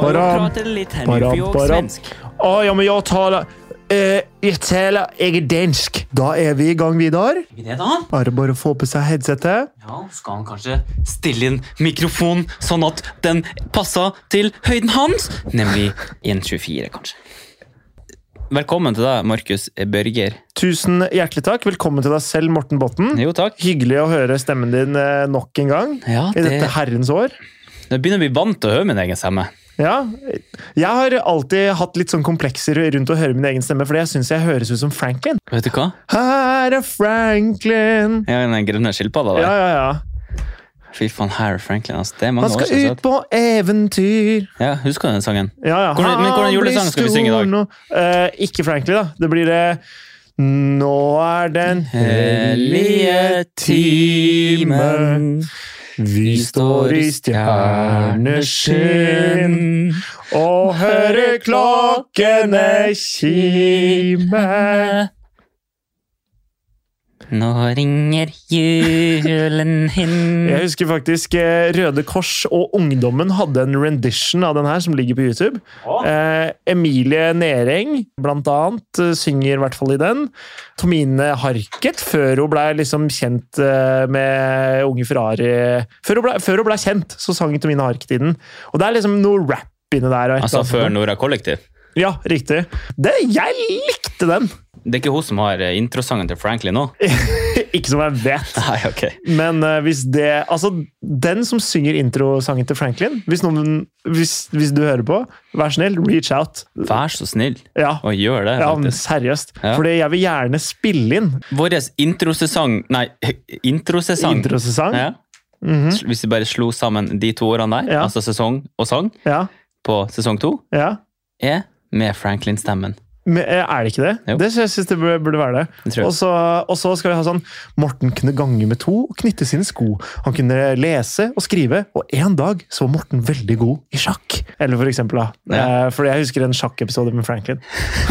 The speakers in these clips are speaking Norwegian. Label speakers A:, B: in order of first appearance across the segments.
A: pratar lite här nu,
B: Param,
A: för jag är
B: param.
A: svensk.
B: Å, ja, men jeg taler eh, Jeg taler Jeg er dansk. Da er vi i gang, Vidar.
A: Är det då?
B: Bare bare å få på seg headsetet.
A: Ja, skal han kanskje stille inn mikrofonen sånn at den passer til høyden hans? Nemlig 1,24, kanskje. Velkommen til deg, Markus Børger.
B: Tusen hjertelig takk. Velkommen til deg selv, Morten Botten.
A: Jo, takk.
B: Hyggelig å høre stemmen din eh, nok en gang
A: Ja,
B: i
A: det,
B: dette herrens år.
A: jeg begynner å bli vant til å høre min egen stemme.
B: Ja, Jeg har alltid hatt litt sånn komplekser rundt å høre min egen stemme, fordi jeg syns jeg høres ut som Franklin.
A: Vet du hva?
B: Her er Franklin!
A: Jeg har den grønne skilpadda
B: Ja,
A: der.
B: ja, ja.
A: Fy faen, Harry Franklin, altså. Det er
B: Han
A: mange år
B: skal
A: siden.
B: ut på eventyr!
A: så- Ja, husker du den sangen?
B: Ja, ja.
A: Hvordan- men hvordan
B: Han
A: julesang
B: blir
A: skal vi synge i dag?
B: stor nå. Eh, ikke Franklin, da. Det blir det Nå er den hellige time, vi står i stjerneskinn. Og høre klokkene kime.
A: Nå ringer julen
B: Jeg
A: hin.
B: husker faktisk eh, Røde Kors og Ungdommen hadde en rendition av den her, som ligger på YouTube. Eh, Emilie Nering, blant annet, eh, synger i hvert fall i den. Tomine Harket, før hun blei liksom kjent eh, med Unge Ferrari Før hun blei før hun ble kjent, så sang Tomine Harket i den. Og det er liksom noe rap inni der. og et
A: Altså
B: eller annet
A: før
B: sånt.
A: Nora Kollektiv.
B: Ja, riktig. Det, jeg likte den!
A: Det er ikke hun som har eh, introsangen til Franklin nå?
B: Ikke som jeg vet.
A: Nei, ok.
B: Men eh, hvis det Altså, den som synger introsangen til Franklin hvis, noen, hvis, hvis du hører på, vær snill, reach out.
A: Vær så snill
B: Ja,
A: og gjør det.
B: ja men
A: faktisk.
B: seriøst.
A: Ja.
B: Fordi jeg vil gjerne spille inn
A: Vår introsesong Nei, introsesong.
B: introsesang. Ja.
A: Ja. Hvis vi bare slo sammen de to ordene der,
B: Mhm. Ja.
A: altså sesong og sang,
B: ja,
A: på sesong to, er med Franklin-stemmen.
B: Men, eh, er det ikke det?
A: Jo.
B: Det sy- jeg synes det burde burde være det.
A: Det tror jeg.
B: Og så, og så skal vi ha sånn Morten kunne gange med to og knytte sine sko. Han kunne lese og skrive, og en dag så var Morten veldig god i sjakk. Eller for eksempel, da.
A: Ja.
B: Eh, fordi jeg husker en sjakkepisode med Franklin.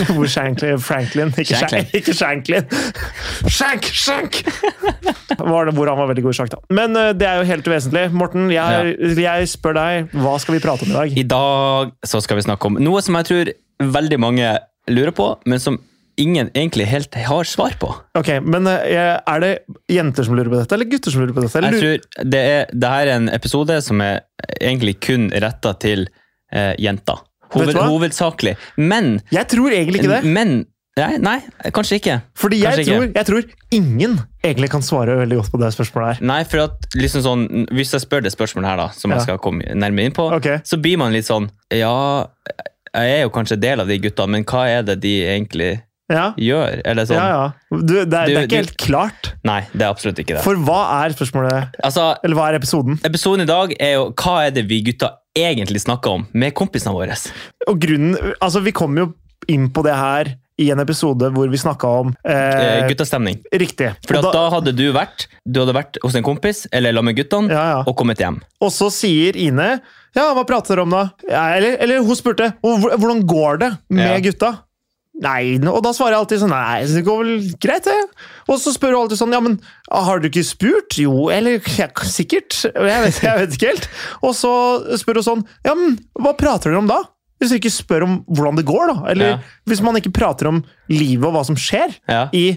B: Hvor Shanklin, Franklin Ikke, Shanklin.
A: Shanklin.
B: ikke Shanklin! Shank! Shank! Var det, hvor han var veldig god i sjakk, da. Men eh, det er jo helt uvesentlig. Morten, jeg, jeg spør deg, hva skal vi prate om i dag?
A: I dag så skal vi snakke om noe som jeg tror veldig mange lurer på, men som ingen egentlig helt har svar på.
B: Ok, men eh, Er det jenter som lurer på dette, eller gutter som lurer på dette? Eller
A: Jeg
B: lurer-
A: tror det, er, det her er en episode som er egentlig kun retta til eh, jenter.
B: Vet
A: Hoved,
B: du hva?
A: hovedsakelig. Men
B: jeg tror egentlig ikke det.
A: Men Nei, nei kanskje ikke.
B: Fordi jeg
A: Kanskje ikke.
B: tror, jeg tror ingen egentlig kan svare veldig godt på det spørsmålet her.
A: Nei, for at liksom sånn, Hvis jeg spør det spørsmålet her, da, som
B: Ja.
A: jeg skal komme nærmere inn på,
B: Ok.
A: så blir man litt sånn Ja, jeg er jo kanskje del av de gutta, men hva er det de egentlig
B: Ja,
A: gjør? Eller sånn
B: ja, ja. Du, det, er, det er
A: Du-
B: ikke helt klart.
A: Nei, det er absolutt ikke det.
B: For hva er spørsmålet,
A: altså,
B: eller hva er episoden?
A: Episoden i dag er jo hva er det vi gutta egentlig snakker om med kompisene våre.
B: Og grunnen, altså Vi kom jo inn på det her i en episode hvor vi snakka om eh,
A: Eh, guttastemning.
B: Riktig.
A: For
B: Og
A: da,
B: da-
A: da hadde du vært Du hadde vært hos en kompis eller sammen med guttene
B: Ja, ja.
A: og kommet hjem.
B: Og så sier Ine Ja, hva prater dere om da? Ja, eller, eller hun spurte «Hvor- hvordan går det med
A: Ja.
B: gutta? Nei, nå- og da svarer jeg alltid sånn Nei, det går vel greit, det. Og så spør hun alltid sånn Ja, men har du ikke spurt? Jo, eller ja, sikkert. Jeg vet, jeg vet ikke helt. Og så spør hun sånn Ja, men hva prater dere om da? Hvis du ikke spør om hvordan det går, da. Eller
A: Ja.
B: hvis man ikke prater om livet og hva som skjer
A: Ja.
B: i,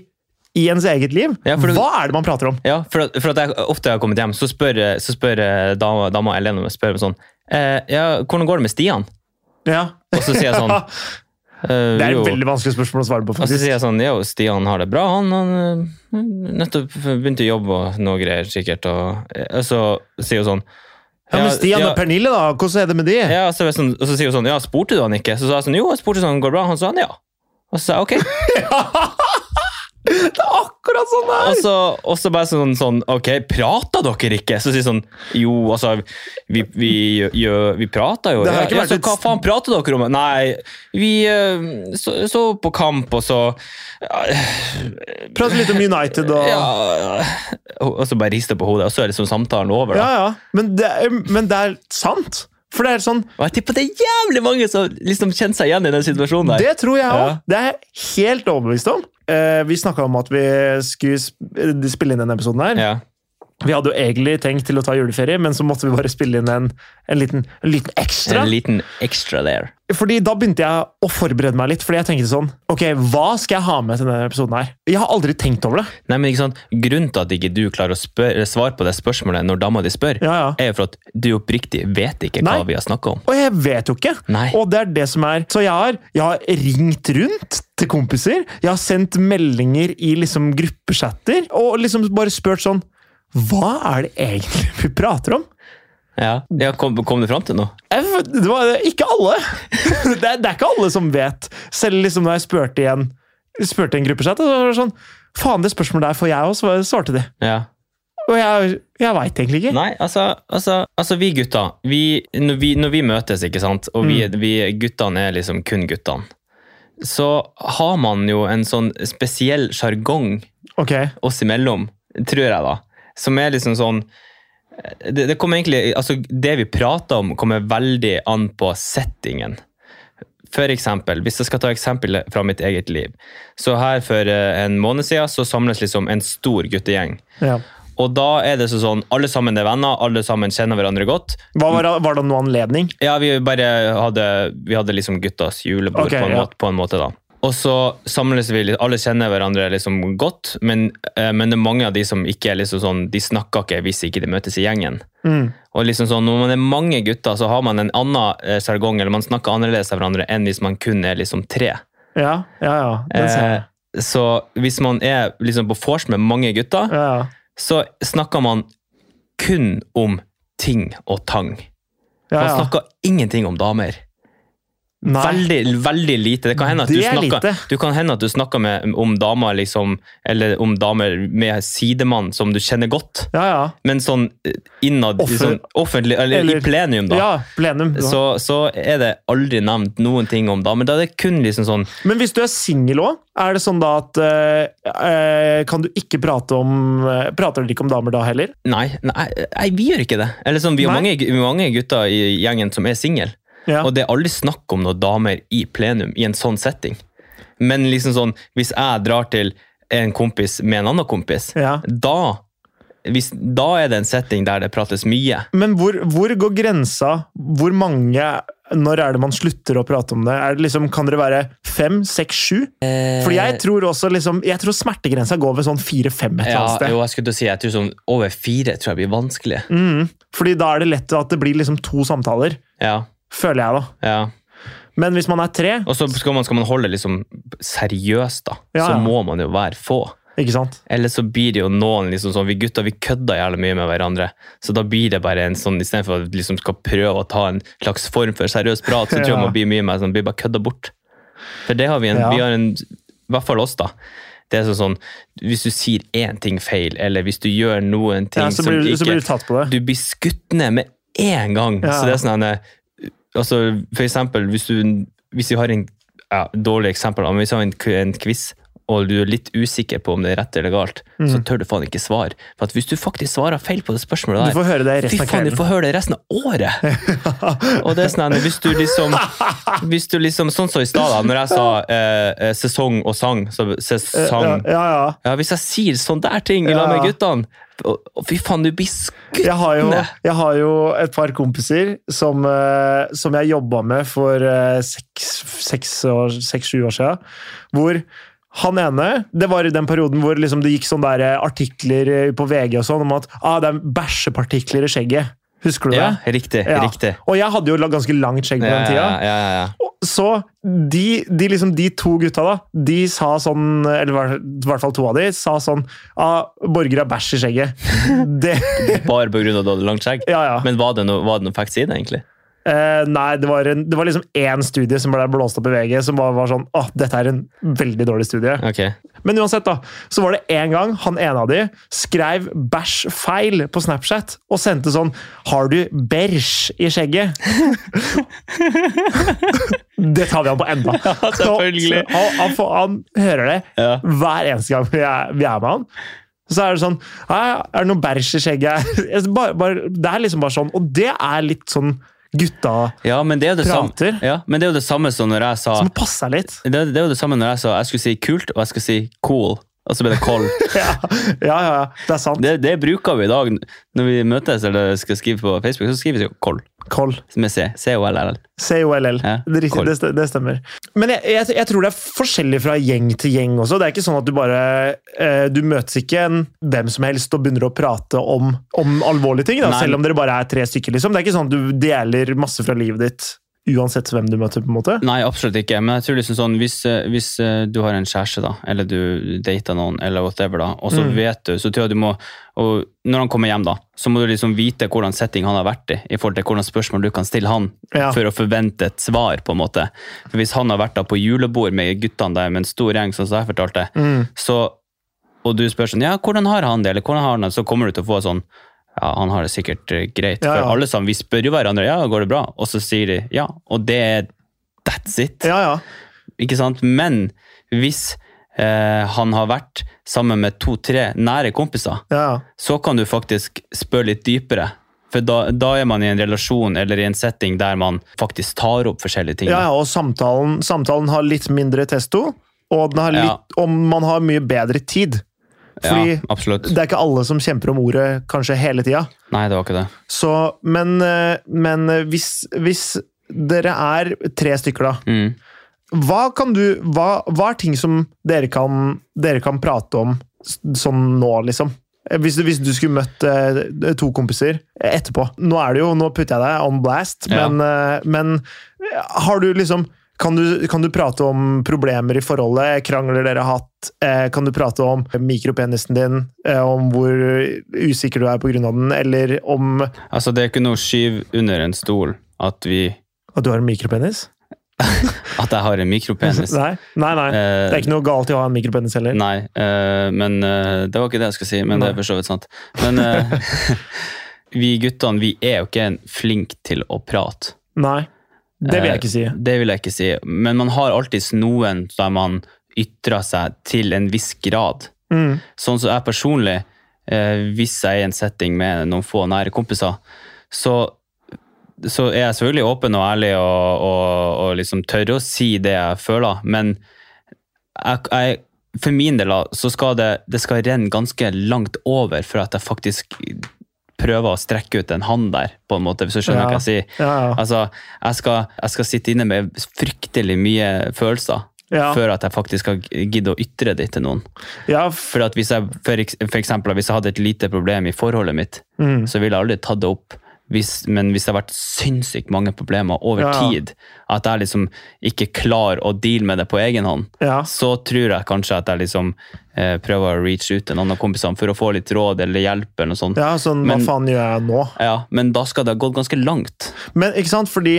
B: i ens eget liv.
A: Ja, for det-
B: hva er det man prater om?
A: Ja, for at, for at jeg ofte har kommet hjem, så spør, så spør eh, dama, dama Elene meg spør meg sånn eh, Ja, hvordan går det med Stian?
B: Ja.
A: Og så sier jeg sånn eh,
B: Det er
A: jo.
B: et veldig vanskelig spørsmål å svare på.
A: Og så
B: faktisk.
A: sier jeg sånn Jo, Stian har det bra. Han, han eh, nettopp begynte å jobbe og noe greier, sikkert. Og, eh, og så sier hun sånn
B: Ja, men Stian og Pernille, da? Hvordan er det med de?
A: Ja, så, var jeg sånn, og så sier hun sånn, ja, spurte du han ikke? Så sa jeg sånn, jo, jeg spurte sånn, går det bra? Han sa han, ja. Og så sa jeg, ok.
B: Det er akkurat sånn det
A: Og så, og så bare sånn, sånn, ok, prater dere ikke? Så sier jeg sånn, jo, altså, vi, vi, gjør- vi prater jo.
B: Det har
A: Ja,
B: ikke
A: ja,
B: vært
A: så,
B: et-
A: hva faen prater dere om? Nei, vi eh, så, så på kamp, og så,
B: Prate litt om United og
A: ja,
B: Ja,
A: og og så bare rister på hodet, og så er liksom samtalen over da.
B: ja. Men, det, er- men det er sant. For det er sånn
A: Og jeg tipper det er jævlig mange som liksom kjenner seg igjen i den situasjonen der.
B: Det tror jeg òg.
A: Ja.
B: Det er jeg helt overbevist om. Eh, vi snakka om at vi skulle sp- spille inn eh, denne episoden her.
A: Ja,
B: Vi hadde jo egentlig tenkt til å ta juleferie, men så måtte vi bare spille inn en, en, liten, en liten ekstra.
A: En liten extra there.
B: Fordi da begynte jeg å forberede meg litt, fordi jeg tenkte sånn Ok, hva skal jeg ha med til denne episoden her? Jeg har aldri tenkt over det.
A: Nei, men ikke sant? Grunnen til at ikke du klarer å spør- eller svare på det spørsmålet når dama di spør,
B: Ja, ja.
A: er jo for at du oppriktig vet ikke hva
B: Nei.
A: vi har snakka om.
B: Og jeg vet jo ikke!
A: Nei.
B: Og det er det som er Så jeg har, jeg har ringt rundt til kompiser. Jeg har sendt meldinger i liksom gruppechatter og liksom bare spurt sånn Hva er det egentlig vi prater om?
A: Ja, ja Kom, kom du fram til noe?
B: Jeg vet- Det var ikke alle! Det er, det er ikke alle som vet. Selv liksom da jeg spurte i en, spurte i en gruppechat, så var det sånn Faen, det spørsmålet der får jeg òg, svarte de.
A: Ja.
B: Og jeg, jeg veit egentlig ikke.
A: Nei, altså, altså, altså vi gutta, vi, når, vi, når vi møtes, ikke sant, og vi, vi guttene er liksom kun guttene, så har man jo en sånn spesiell sjargong
B: Ok,
A: oss imellom, tror jeg da, som er liksom sånn det, det kommer egentlig, altså det vi prater om kommer veldig an på settingen. For eksempel, hvis jeg skal ta eksempel fra mitt eget liv, så her for eh, en måned siden så samles liksom en stor guttegjeng.
B: ja.
A: Og da er det så sånn, alle sammen er venner, alle sammen kjenner hverandre godt.
B: Hva var, var det noen anledning?
A: Ja, vi bare hadde, vi hadde liksom guttas julebord
B: Ok,
A: på, en
B: ja.
A: måte, på en måte da. Og så samles vi, litt- alle kjenner hverandre liksom godt, men, eh, men det er mange av de som ikke er liksom sånn, de snakker ikke hvis ikke de møtes i gjengen.
B: Mm.
A: Og liksom sånn, når man er mange gutter, så har man en annen eh, jargong, eller man snakker annerledes av hverandre enn hvis man kun er liksom tre.
B: Ja, ja, ja. Den ser jeg.
A: Eh, så hvis man er liksom på vors med mange gutter,
B: Ja, ja.
A: så snakker man kun om ting og tang.
B: ja,
A: Man
B: ja.
A: snakker ingenting om damer.
B: Nei.
A: Veldig, veldig lite. Det kan hende at du
B: Det er
A: snakker,
B: lite.
A: du kan hende at du snakker med, om damer liksom, eller om damer med sidemann som du kjenner godt,
B: Ja, ja.
A: men sånn eh, innad i
B: Offer-
A: sånn offentlig, eller,
B: eller-
A: i plenum, da.
B: Ja, plenum.
A: Så, så er det aldri nevnt noen ting om damer. Da er det kun liksom sånn
B: Men hvis du er singel òg, er det sånn da at eh, eh, Kan du ikke prate om eh, Prater dere ikke om damer da heller?
A: Nei, nei, nei vi gjør ikke det. Eller sånn, vi har
B: Nei.
A: mange, vi har mange gutter i gjengen som er single.
B: Ja.
A: Og det er aldri snakk om noen damer i plenum i en sånn setting. Men liksom sånn, hvis jeg drar til en kompis med en annen kompis,
B: Ja.
A: da, hvis, da er det en setting der det prates mye.
B: Men hvor, hvor går grensa? Hvor mange Når er det man slutter å prate om det? Er det liksom, kan dere være fem, seks, sju? Fordi
A: Eh.
B: jeg tror også liksom, jeg tror smertegrensa går ved sånn fire-fem et eller
A: ja,
B: annet sted.
A: jo, jeg skulle til å si, jeg tror sånn over fire tror jeg blir vanskelig.
B: Mm. Fordi da er det lett at det blir liksom to samtaler,
A: Ja,
B: føler jeg da.
A: ja.
B: Men hvis man er tre,
A: Og så skal man, skal man holde liksom seriøst da,
B: Ja,
A: så
B: ja.
A: må man jo være få.
B: ikke sant?
A: Eller så blir det jo noen liksom sånn, vi gutter vi kødder jævlig mye med hverandre, så da blir det bare en sånn, istedenfor at vi liksom skal prøve å ta en slags form for seriøs prat, så tror jeg
B: Ja.
A: man blir mye mer sånn, blir bare kødda bort. For det har vi en,
B: Ja.
A: vi har en, i hvert fall oss da, det er sånn sånn, hvis du sier én ting feil, eller hvis du gjør noen ting
B: Ja, så, blir,
A: som
B: du-
A: ikke,
B: så blir du tatt på det.
A: du blir skutt ned med en gang.
B: Ja.
A: Så det er sånn en, eh, altså, For eksempel, hvis, du, hvis vi har en ja, dårlig eksempel, da, men hvis vi har en, k- en quiz, og du er litt usikker på om det er rett eller galt, så
B: Mm.
A: tør du faen ikke svare. For at hvis du faktisk svarer feil på det
B: Du
A: spørsmålet der,
B: får høre det
A: Fy
B: resten av
A: faen, du
B: kvelden.
A: får høre det resten av året! Og det er sånn, hvis du liksom, hvis du liksom Sånn som i stad, da, når jeg sa eh, eh, sesong og sang, så sesong
B: Ja, ja, ja.
A: ja, Hvis jeg sier sånn der ting i lag med
B: Ja.
A: guttene å- å, Fy faen, du blir skutt
B: Jeg har, jo,
A: ned!
B: jeg har jo et par kompiser som, eh, som jeg jobba med for eh, seks, seks, år, seks, sju år siden. Hvor han ene Det var i den perioden hvor liksom det gikk sånne der eh, artikler eh, på VG og sånn om at ah, det er bæsjepartikler i skjegget. Husker du
A: Ja,
B: det?
A: riktig.
B: Ja.
A: riktig.
B: Og jeg hadde jo la- ganske langt skjegg på den tida.
A: Ja, ja, ja, ja.
B: Og Så de, de, liksom, de to gutta da, de sa sånn, eller i hvert- i hvert fall to av de, sa sånn ah, Borger har bæsj i skjegget. Det,
A: Bare pga. at du hadde langt skjegg?
B: ja, ja.
A: Men var det noe, var det noe facts i det, egentlig?
B: Eh, nei, det var, en, det var liksom én studie som ble blåst opp i VG, som bare var sånn Åh, dette er en veldig dårlig studie.
A: Ok.
B: Men uansett, da. Så var det en gang han ene av de skrev bæsj feil på Snapchat og sendte sånn Har du bæsj i skjegget? det tar vi han på enda.
A: selvfølgelig.
B: Så Han, han, får- han hører det
A: Ja.
B: hver eneste gang vi er, vi er med han. Så er det sånn «Hæ, Er det noe bæsj i skjegget? Jeg- Bare, bare, det er liksom bare sånn. Og det er litt sånn gutta
A: Ja, men det er jo det samme,
B: Prater.
A: ja, men det er jo det samme som når jeg sa
B: som må passe seg litt.
A: det, det er jo det samme når jeg sa jeg skulle si kult, og jeg skulle si cool. og så ble det koll.
B: Ja, ja, ja. Det er sant.
A: Det, det bruker vi i dag når vi møtes eller skal skrive på Facebook. så skriver vi jo koll
B: Koll.
A: med C. C-O-L-L.
B: COLL.
A: Ja,
B: Det, er riktig,
A: koll.
B: det, st- det stemmer. Men jeg, jeg, jeg tror det er forskjellig fra gjeng til gjeng også. Det er ikke sånn at du bare eh, Du møtes ikke en hvem som helst og begynner å prate om, om alvorlige ting, da,
A: Nei.
B: selv om dere bare er tre stykker. liksom. Det er ikke sånn at du deler masse fra livet ditt uansett hvem du møter. på en måte.
A: Nei, absolutt ikke. Men jeg tror liksom sånn, hvis, eh, hvis eh, du har en kjæreste, da, eller du dater noen, eller whatever, da, og så
B: Mm.
A: vet du, så tror jeg du må og Når han kommer hjem, da, så må du liksom vite hvordan setting han har vært i, i forhold til hvordan spørsmål du kan stille han
B: Ja.
A: for å forvente et svar, på en måte. For hvis han har vært da på julebord med guttene der med en stor gjeng, sånn som jeg fortalte,
B: Mm.
A: så, og du spør sånn, ja, hvordan har han det, eller hvordan har han det, så kommer du til å få sånn, ja, han har det sikkert eh, greit.
B: Ja, ja.
A: For alle sammen, vi spør jo hverandre, ja, går det bra? Og så sier de, ja, og det er that's it.
B: Ja, ja.
A: Ikke sant? Men hvis eh, han har vært sammen med to-tre nære kompiser,
B: ja, ja.
A: så kan du faktisk spørre litt dypere. For da, da er man i en relasjon eller i en setting der man faktisk tar opp forskjellige ting.
B: Ja, ja, og samtalen, samtalen har litt mindre testo, og, den har litt,
A: Ja.
B: og man har mye bedre tid. Fordi
A: Ja, absolutt.
B: det er ikke alle som kjemper om ordet kanskje hele tida.
A: Nei, det var ikke det.
B: Så, men, eh, men eh, hvis, hvis dere er tre stykker, da.
A: Mm.
B: Hva, kan du, hva, hva er ting som dere kan, dere kan prate om s- sånn nå, liksom? Eh, Hvis du, hvis du skulle møtt eh, to kompiser etterpå. Nå er det jo, nå putter jeg deg on blast,
A: Ja.
B: men, eh, men har du liksom kan du, kan du prate om problemer i forholdet, krangler dere har hatt? Eh, kan du prate om mikropenisen din, eh, om hvor usikker du er pga. den, eller om at
A: Altså, det er ikke noe skyv under en stol at vi
B: du har en mikropenis?
A: At jeg har en mikropenis.
B: Nei, nei. nei.
A: Eh,
B: Det er ikke noe galt i å ha en mikropenis heller.
A: Nei, eh, men eh, det var ikke det jeg skulle si, men det er
B: Nei.
A: for så vidt sant. Men eh, vi guttene, vi er jo ikke flinke til å prate.
B: Nei. Det vil
A: Eh,
B: jeg ikke si.
A: Det vil jeg ikke si, men man har alltid noen der man ytrer seg til en viss grad.
B: Mm.
A: Sånn som jeg personlig, eh, hvis jeg er i en setting med noen få nære kompiser, så, så er jeg selvfølgelig åpen og ærlig og, og, og liksom tør å si det jeg føler, men jeg, jeg, for min del da, så skal det, det skal renne ganske langt over for at jeg faktisk prøver å strekke ut en hand der, på en måte, hvis du skjønner
B: Ja.
A: hva jeg sier.
B: Ja, ja.
A: Altså, jeg skal, jeg skal sitte inne med fryktelig mye følelser
B: Ja.
A: før at jeg faktisk skal gidde å ytre det til noen.
B: ja, f-
A: For, at hvis jeg, for, eks- for eksempel, hvis jeg hadde et lite problem i forholdet mitt,
B: mm.
A: så ville jeg aldri tatt det opp. Hvis, men hvis det har vært sinnssykt mange problemer over
B: Ja, ja.
A: tid, at jeg liksom ikke klarer å deale med det på egen hånd,
B: ja.
A: så tror jeg kanskje at jeg liksom eh, prøver å reach ut til noen av kompisene for å få litt råd eller hjelp. eller noe sånt. Ja.
B: ja, sånn
A: Men-
B: hva faen gjør jeg nå?
A: Men da skal det ha gått ganske langt.
B: Men ikke sant, fordi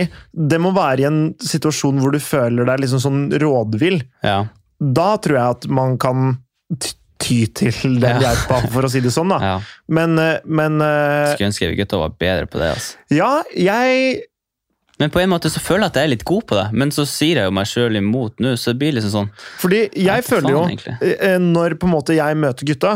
B: det må være i en situasjon hvor du føler deg liksom sånn rådvill.
A: Ja,
B: Da tror jeg at man kan ty ty til den
A: Ja.
B: hjelpa, for å si det sånn, da.
A: ja.
B: Men, eh, men eh,
A: Skulle ønske vi gutta var bedre på det. altså.
B: Ja, jeg
A: Men på en måte så føler jeg at jeg er litt god på det, men så sier jeg jo meg sjøl imot nå, så det blir liksom sånn
B: Fordi jeg
A: for
B: føler jo
A: faen, egentlig.
B: eh, Når på en måte jeg møter gutta,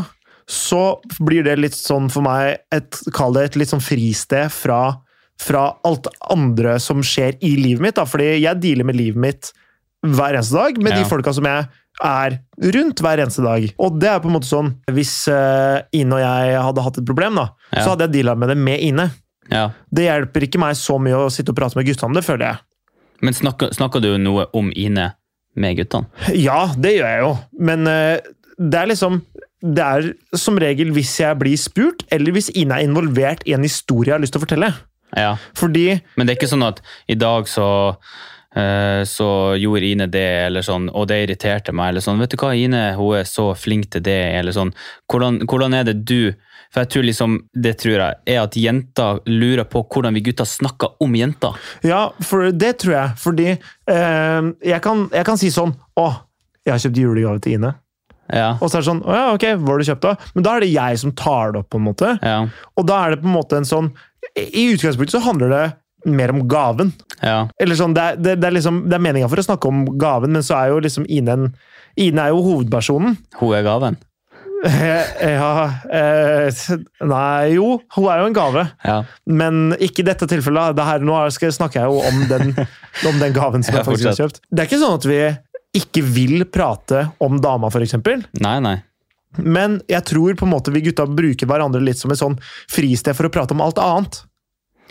B: så blir det litt sånn for meg et, Kall det et litt sånn fristed fra, fra alt andre som skjer i livet mitt. Da. Fordi jeg dealer med livet mitt hver eneste dag, med
A: Ja.
B: de folka som jeg er rundt hver eneste dag. Og det er på en måte sånn Hvis eh, Ine og jeg hadde hatt et problem, da,
A: Ja.
B: så hadde jeg deala med det med Ine.
A: Ja.
B: Det hjelper ikke meg så mye å sitte og prate med gutta om det, føler jeg.
A: Men snakker, snakker du noe om Ine med guttene?
B: Ja, det gjør jeg jo. Men eh, det er liksom Det er som regel hvis jeg blir spurt, eller hvis Ine er involvert i en historie jeg har lyst til å fortelle.
A: Ja.
B: Fordi
A: Men det er ikke sånn at i dag så eh, så gjorde Ine det, eller sånn, og det irriterte meg. eller sånn, Vet du hva, Ine hun er så flink til det, eller sånn. Hvordan, hvordan er det du For jeg tror liksom, det tror jeg, er at jenter lurer på hvordan vi gutter snakker om jenter.
B: Ja, for det tror jeg. Fordi eh, jeg, kan, jeg kan si sånn Å, jeg har kjøpt julegave til Ine.
A: Ja.
B: Og så er det sånn Å ja, ok, hva har du kjøpt, da? Men da er det jeg som tar det opp, på en måte.
A: Ja.
B: Og da er det på en måte en sånn I utgangspunktet så handler det mer om gaven.
A: ja.
B: Eller sånn, det, er- det, det er liksom, det er meninga for å snakke om gaven, men så er jo liksom Ine en Ine er jo hovedpersonen.
A: Hun er gaven.
B: Eh, ja eh, Nei, jo. Hun er jo en gave.
A: Ja.
B: Men ikke i dette tilfellet. Det her, nå skal, snakker jeg jo om den, om den gaven som
A: Ja,
B: jeg faktisk har kjøpt. Det er ikke sånn at vi ikke vil prate om dama, f.eks.
A: Nei, nei.
B: Men jeg tror på en måte vi gutta bruker hverandre litt som et sånn fristed for å prate om alt annet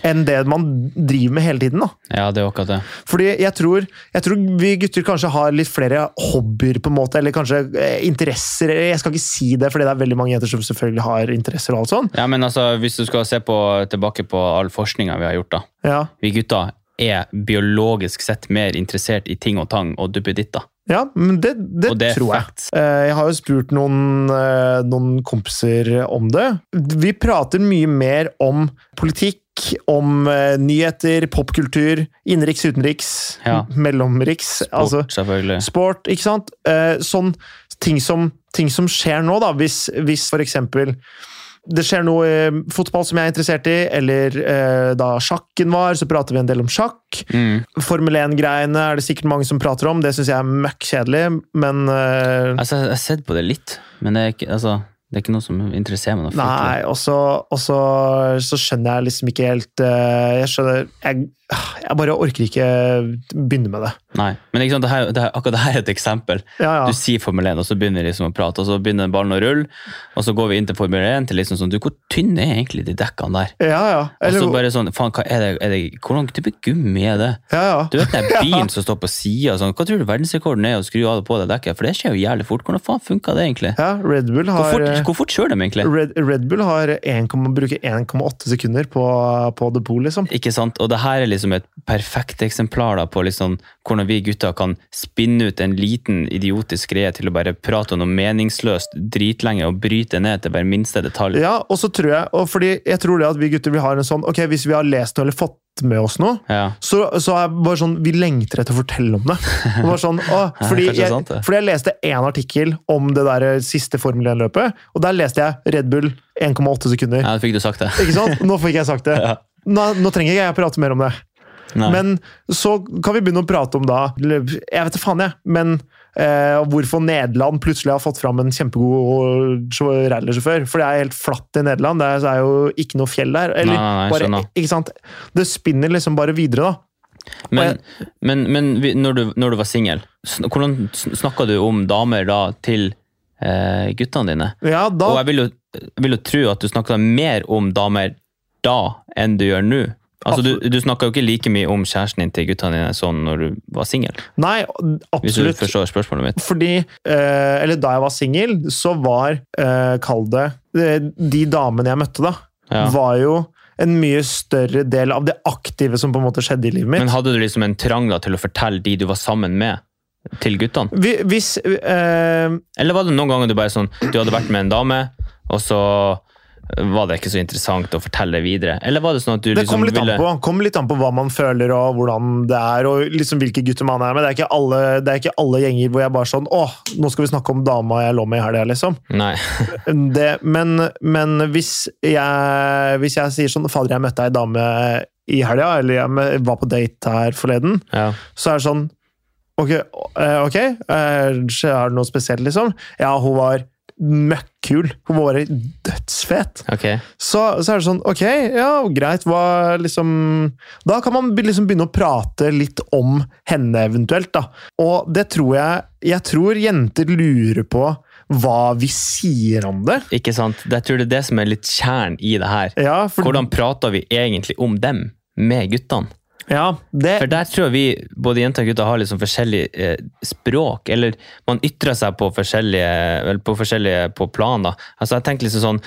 B: enn det man driver med hele tiden. da.
A: Ja, det er jo akkurat det.
B: Fordi jeg tror, jeg tror vi gutter kanskje har litt flere hobbyer, på en måte, eller kanskje eh, interesser. Jeg skal ikke si det, fordi det er veldig mange jenter som selvfølgelig har interesser. og alt sånn.
A: Ja, men altså, Hvis du skal se på, tilbake på all forskninga vi har gjort, da.
B: Ja,
A: Vi gutter er biologisk sett mer interessert i ting og tang og duppeditter.
B: ja men det, det,
A: Og det er
B: tror jeg.
A: facts.
B: Eh, Jeg har jo spurt noen, eh, noen kompiser om det. Vi prater mye mer om politikk, om eh, nyheter, popkultur, innenriks, utenriks,
A: Ja.
B: mellomriks. altså,
A: Sport, selvfølgelig.
B: sport, ikke sant? Eh, sånn ting som, ting som skjer nå, da. Hvis, hvis for eksempel det skjer noe eh, fotball som jeg er interessert i, eller eh, da sjakken var, så prater vi en del om sjakk.
A: Mm.
B: Formel 1-greiene er det sikkert mange som prater om, det syns jeg er møkk kjedelig, men eh,
A: Altså, jeg jeg har sett på det litt, men det er ikke, altså, det er ikke noe som interesserer meg. noe fryktelig.
B: Nei, og så- og så så skjønner jeg liksom ikke helt eh, Jeg skjønner jeg, jeg bare orker ikke begynne med det.
A: Nei. Men ikke sant, det her, det her, akkurat det her er et eksempel.
B: Ja, ja.
A: Du sier Formel 1, og så begynner vi liksom å prate, og så begynner ballen å rulle, og så går vi inn til Formel 1 til liksom sånn, du, hvor tynne er egentlig de dekkene der?
B: ja, ja. Eller,
A: og så bare sånn, faen, hva er det, er det, hvordan type gummi er det?
B: ja, ja.
A: Du vet den der bilen som står på sida, sånn, hva tror du verdensrekorden er å skru av det på det dekket? For det skjer jo jævlig fort. Hvordan faen funka det egentlig?
B: ja, Red Bull
A: Hvor
B: har
A: fort,
B: eh,
A: hvor fort kjører de egentlig?
B: Red, Red Bull har 1, bruker 1,8 sekunder på, på depot, liksom.
A: Ikke sant? Og det her er liksom et perfekt eksemplar da, på liksom hvordan vi gutter kan spinne ut en liten idiotisk greie til å bare prate om noe meningsløst dritlenge og bryte ned til hver minste detalj.
B: Ja, og så tror jeg, og fordi jeg tror det at vi gutter vi har en sånn Ok, hvis vi har lest noe eller fått med oss noe,
A: Ja.
B: så, så er det bare sånn, vi lengter etter å fortelle om det. det var sånn, å, fordi,
A: kanskje det er
B: jeg,
A: sant, det.
B: fordi jeg leste én artikkel om det der siste Formel 1-løpet, og der leste jeg Red Bull 1,8 sekunder.
A: Ja, da fikk du sagt det.
B: Ikke sant? Nå fikk jeg sagt det.
A: Ja.
B: Nå, nå trenger ikke jeg prate mer om det.
A: Nei.
B: Men så kan vi begynne å prate om da Jeg vet da faen, jeg. Men eh, hvorfor Nederland plutselig har fått fram en kjempegod sjå- rallyrsjåfør. For det er helt flatt i Nederland. Det er, så er jo ikke noe fjell der. Eller,
A: Nei, nei, nei, jeg
B: bare,
A: skjønner.
B: ikke sant? Det spinner liksom bare videre, da.
A: Men, men, men vi- når, du, når du var singel, sn- hvordan sn- snakka du om damer da til eh, guttene dine?
B: Ja, da
A: Og jeg vil jo, jeg vil jo tro at du snakka mer om damer da enn du gjør nå. Altså, du, du snakka jo ikke like mye om kjæresten din til guttene dine sånn når du var singel.
B: Nei,
A: Hvis du
B: absolutt.
A: forstår spørsmålet mitt.
B: Fordi eh, Eller da jeg var singel, så var eh, Kall det eh, De damene jeg møtte, da,
A: Ja.
B: var jo en mye større del av det aktive som på en måte skjedde i livet mitt.
A: Men hadde du liksom en trang da til å fortelle de du var sammen med, til guttene?
B: Vi- Hvis eh,
A: Eller var det noen ganger du bare sånn Du hadde vært med en dame, og så var det ikke så interessant å fortelle det videre? Eller var det sånn at du
B: Det
A: liksom
B: kommer litt, an
A: ville
B: på, kommer litt an på hva man føler og hvordan det er, og liksom hvilke gutter man er med. Det er ikke alle, det er ikke alle gjenger hvor jeg bare sånn Å, nå skal vi snakke om dama jeg lå med i helga, liksom.
A: Nei.
B: Det, men men hvis, jeg, hvis jeg sier sånn Fader, jeg møtte ei dame i helga, eller jeg mø- var på date her forleden,
A: Ja.
B: så er det sånn Ok, eh, ok, eh, er det noe spesielt, liksom? Ja, hun var møkkul. Hun var dødsfet.
A: Ok.
B: så, så er det sånn Ok, ja, greit. Hva liksom Da kan man be- liksom begynne å prate litt om henne eventuelt, da. Og det tror jeg Jeg tror jenter lurer på hva vi sier om det.
A: Ikke sant? Jeg tror det er det som er litt kjernen i det her.
B: Ja, for,
A: Hvordan prater vi egentlig om dem med guttene?
B: ja det
A: For der tror jeg vi, både jenter og gutter, har liksom forskjellig eh, språk. Eller man ytrer seg på forskjellige, vel, på forskjellige på plan, da. Altså, jeg tenker liksom sånn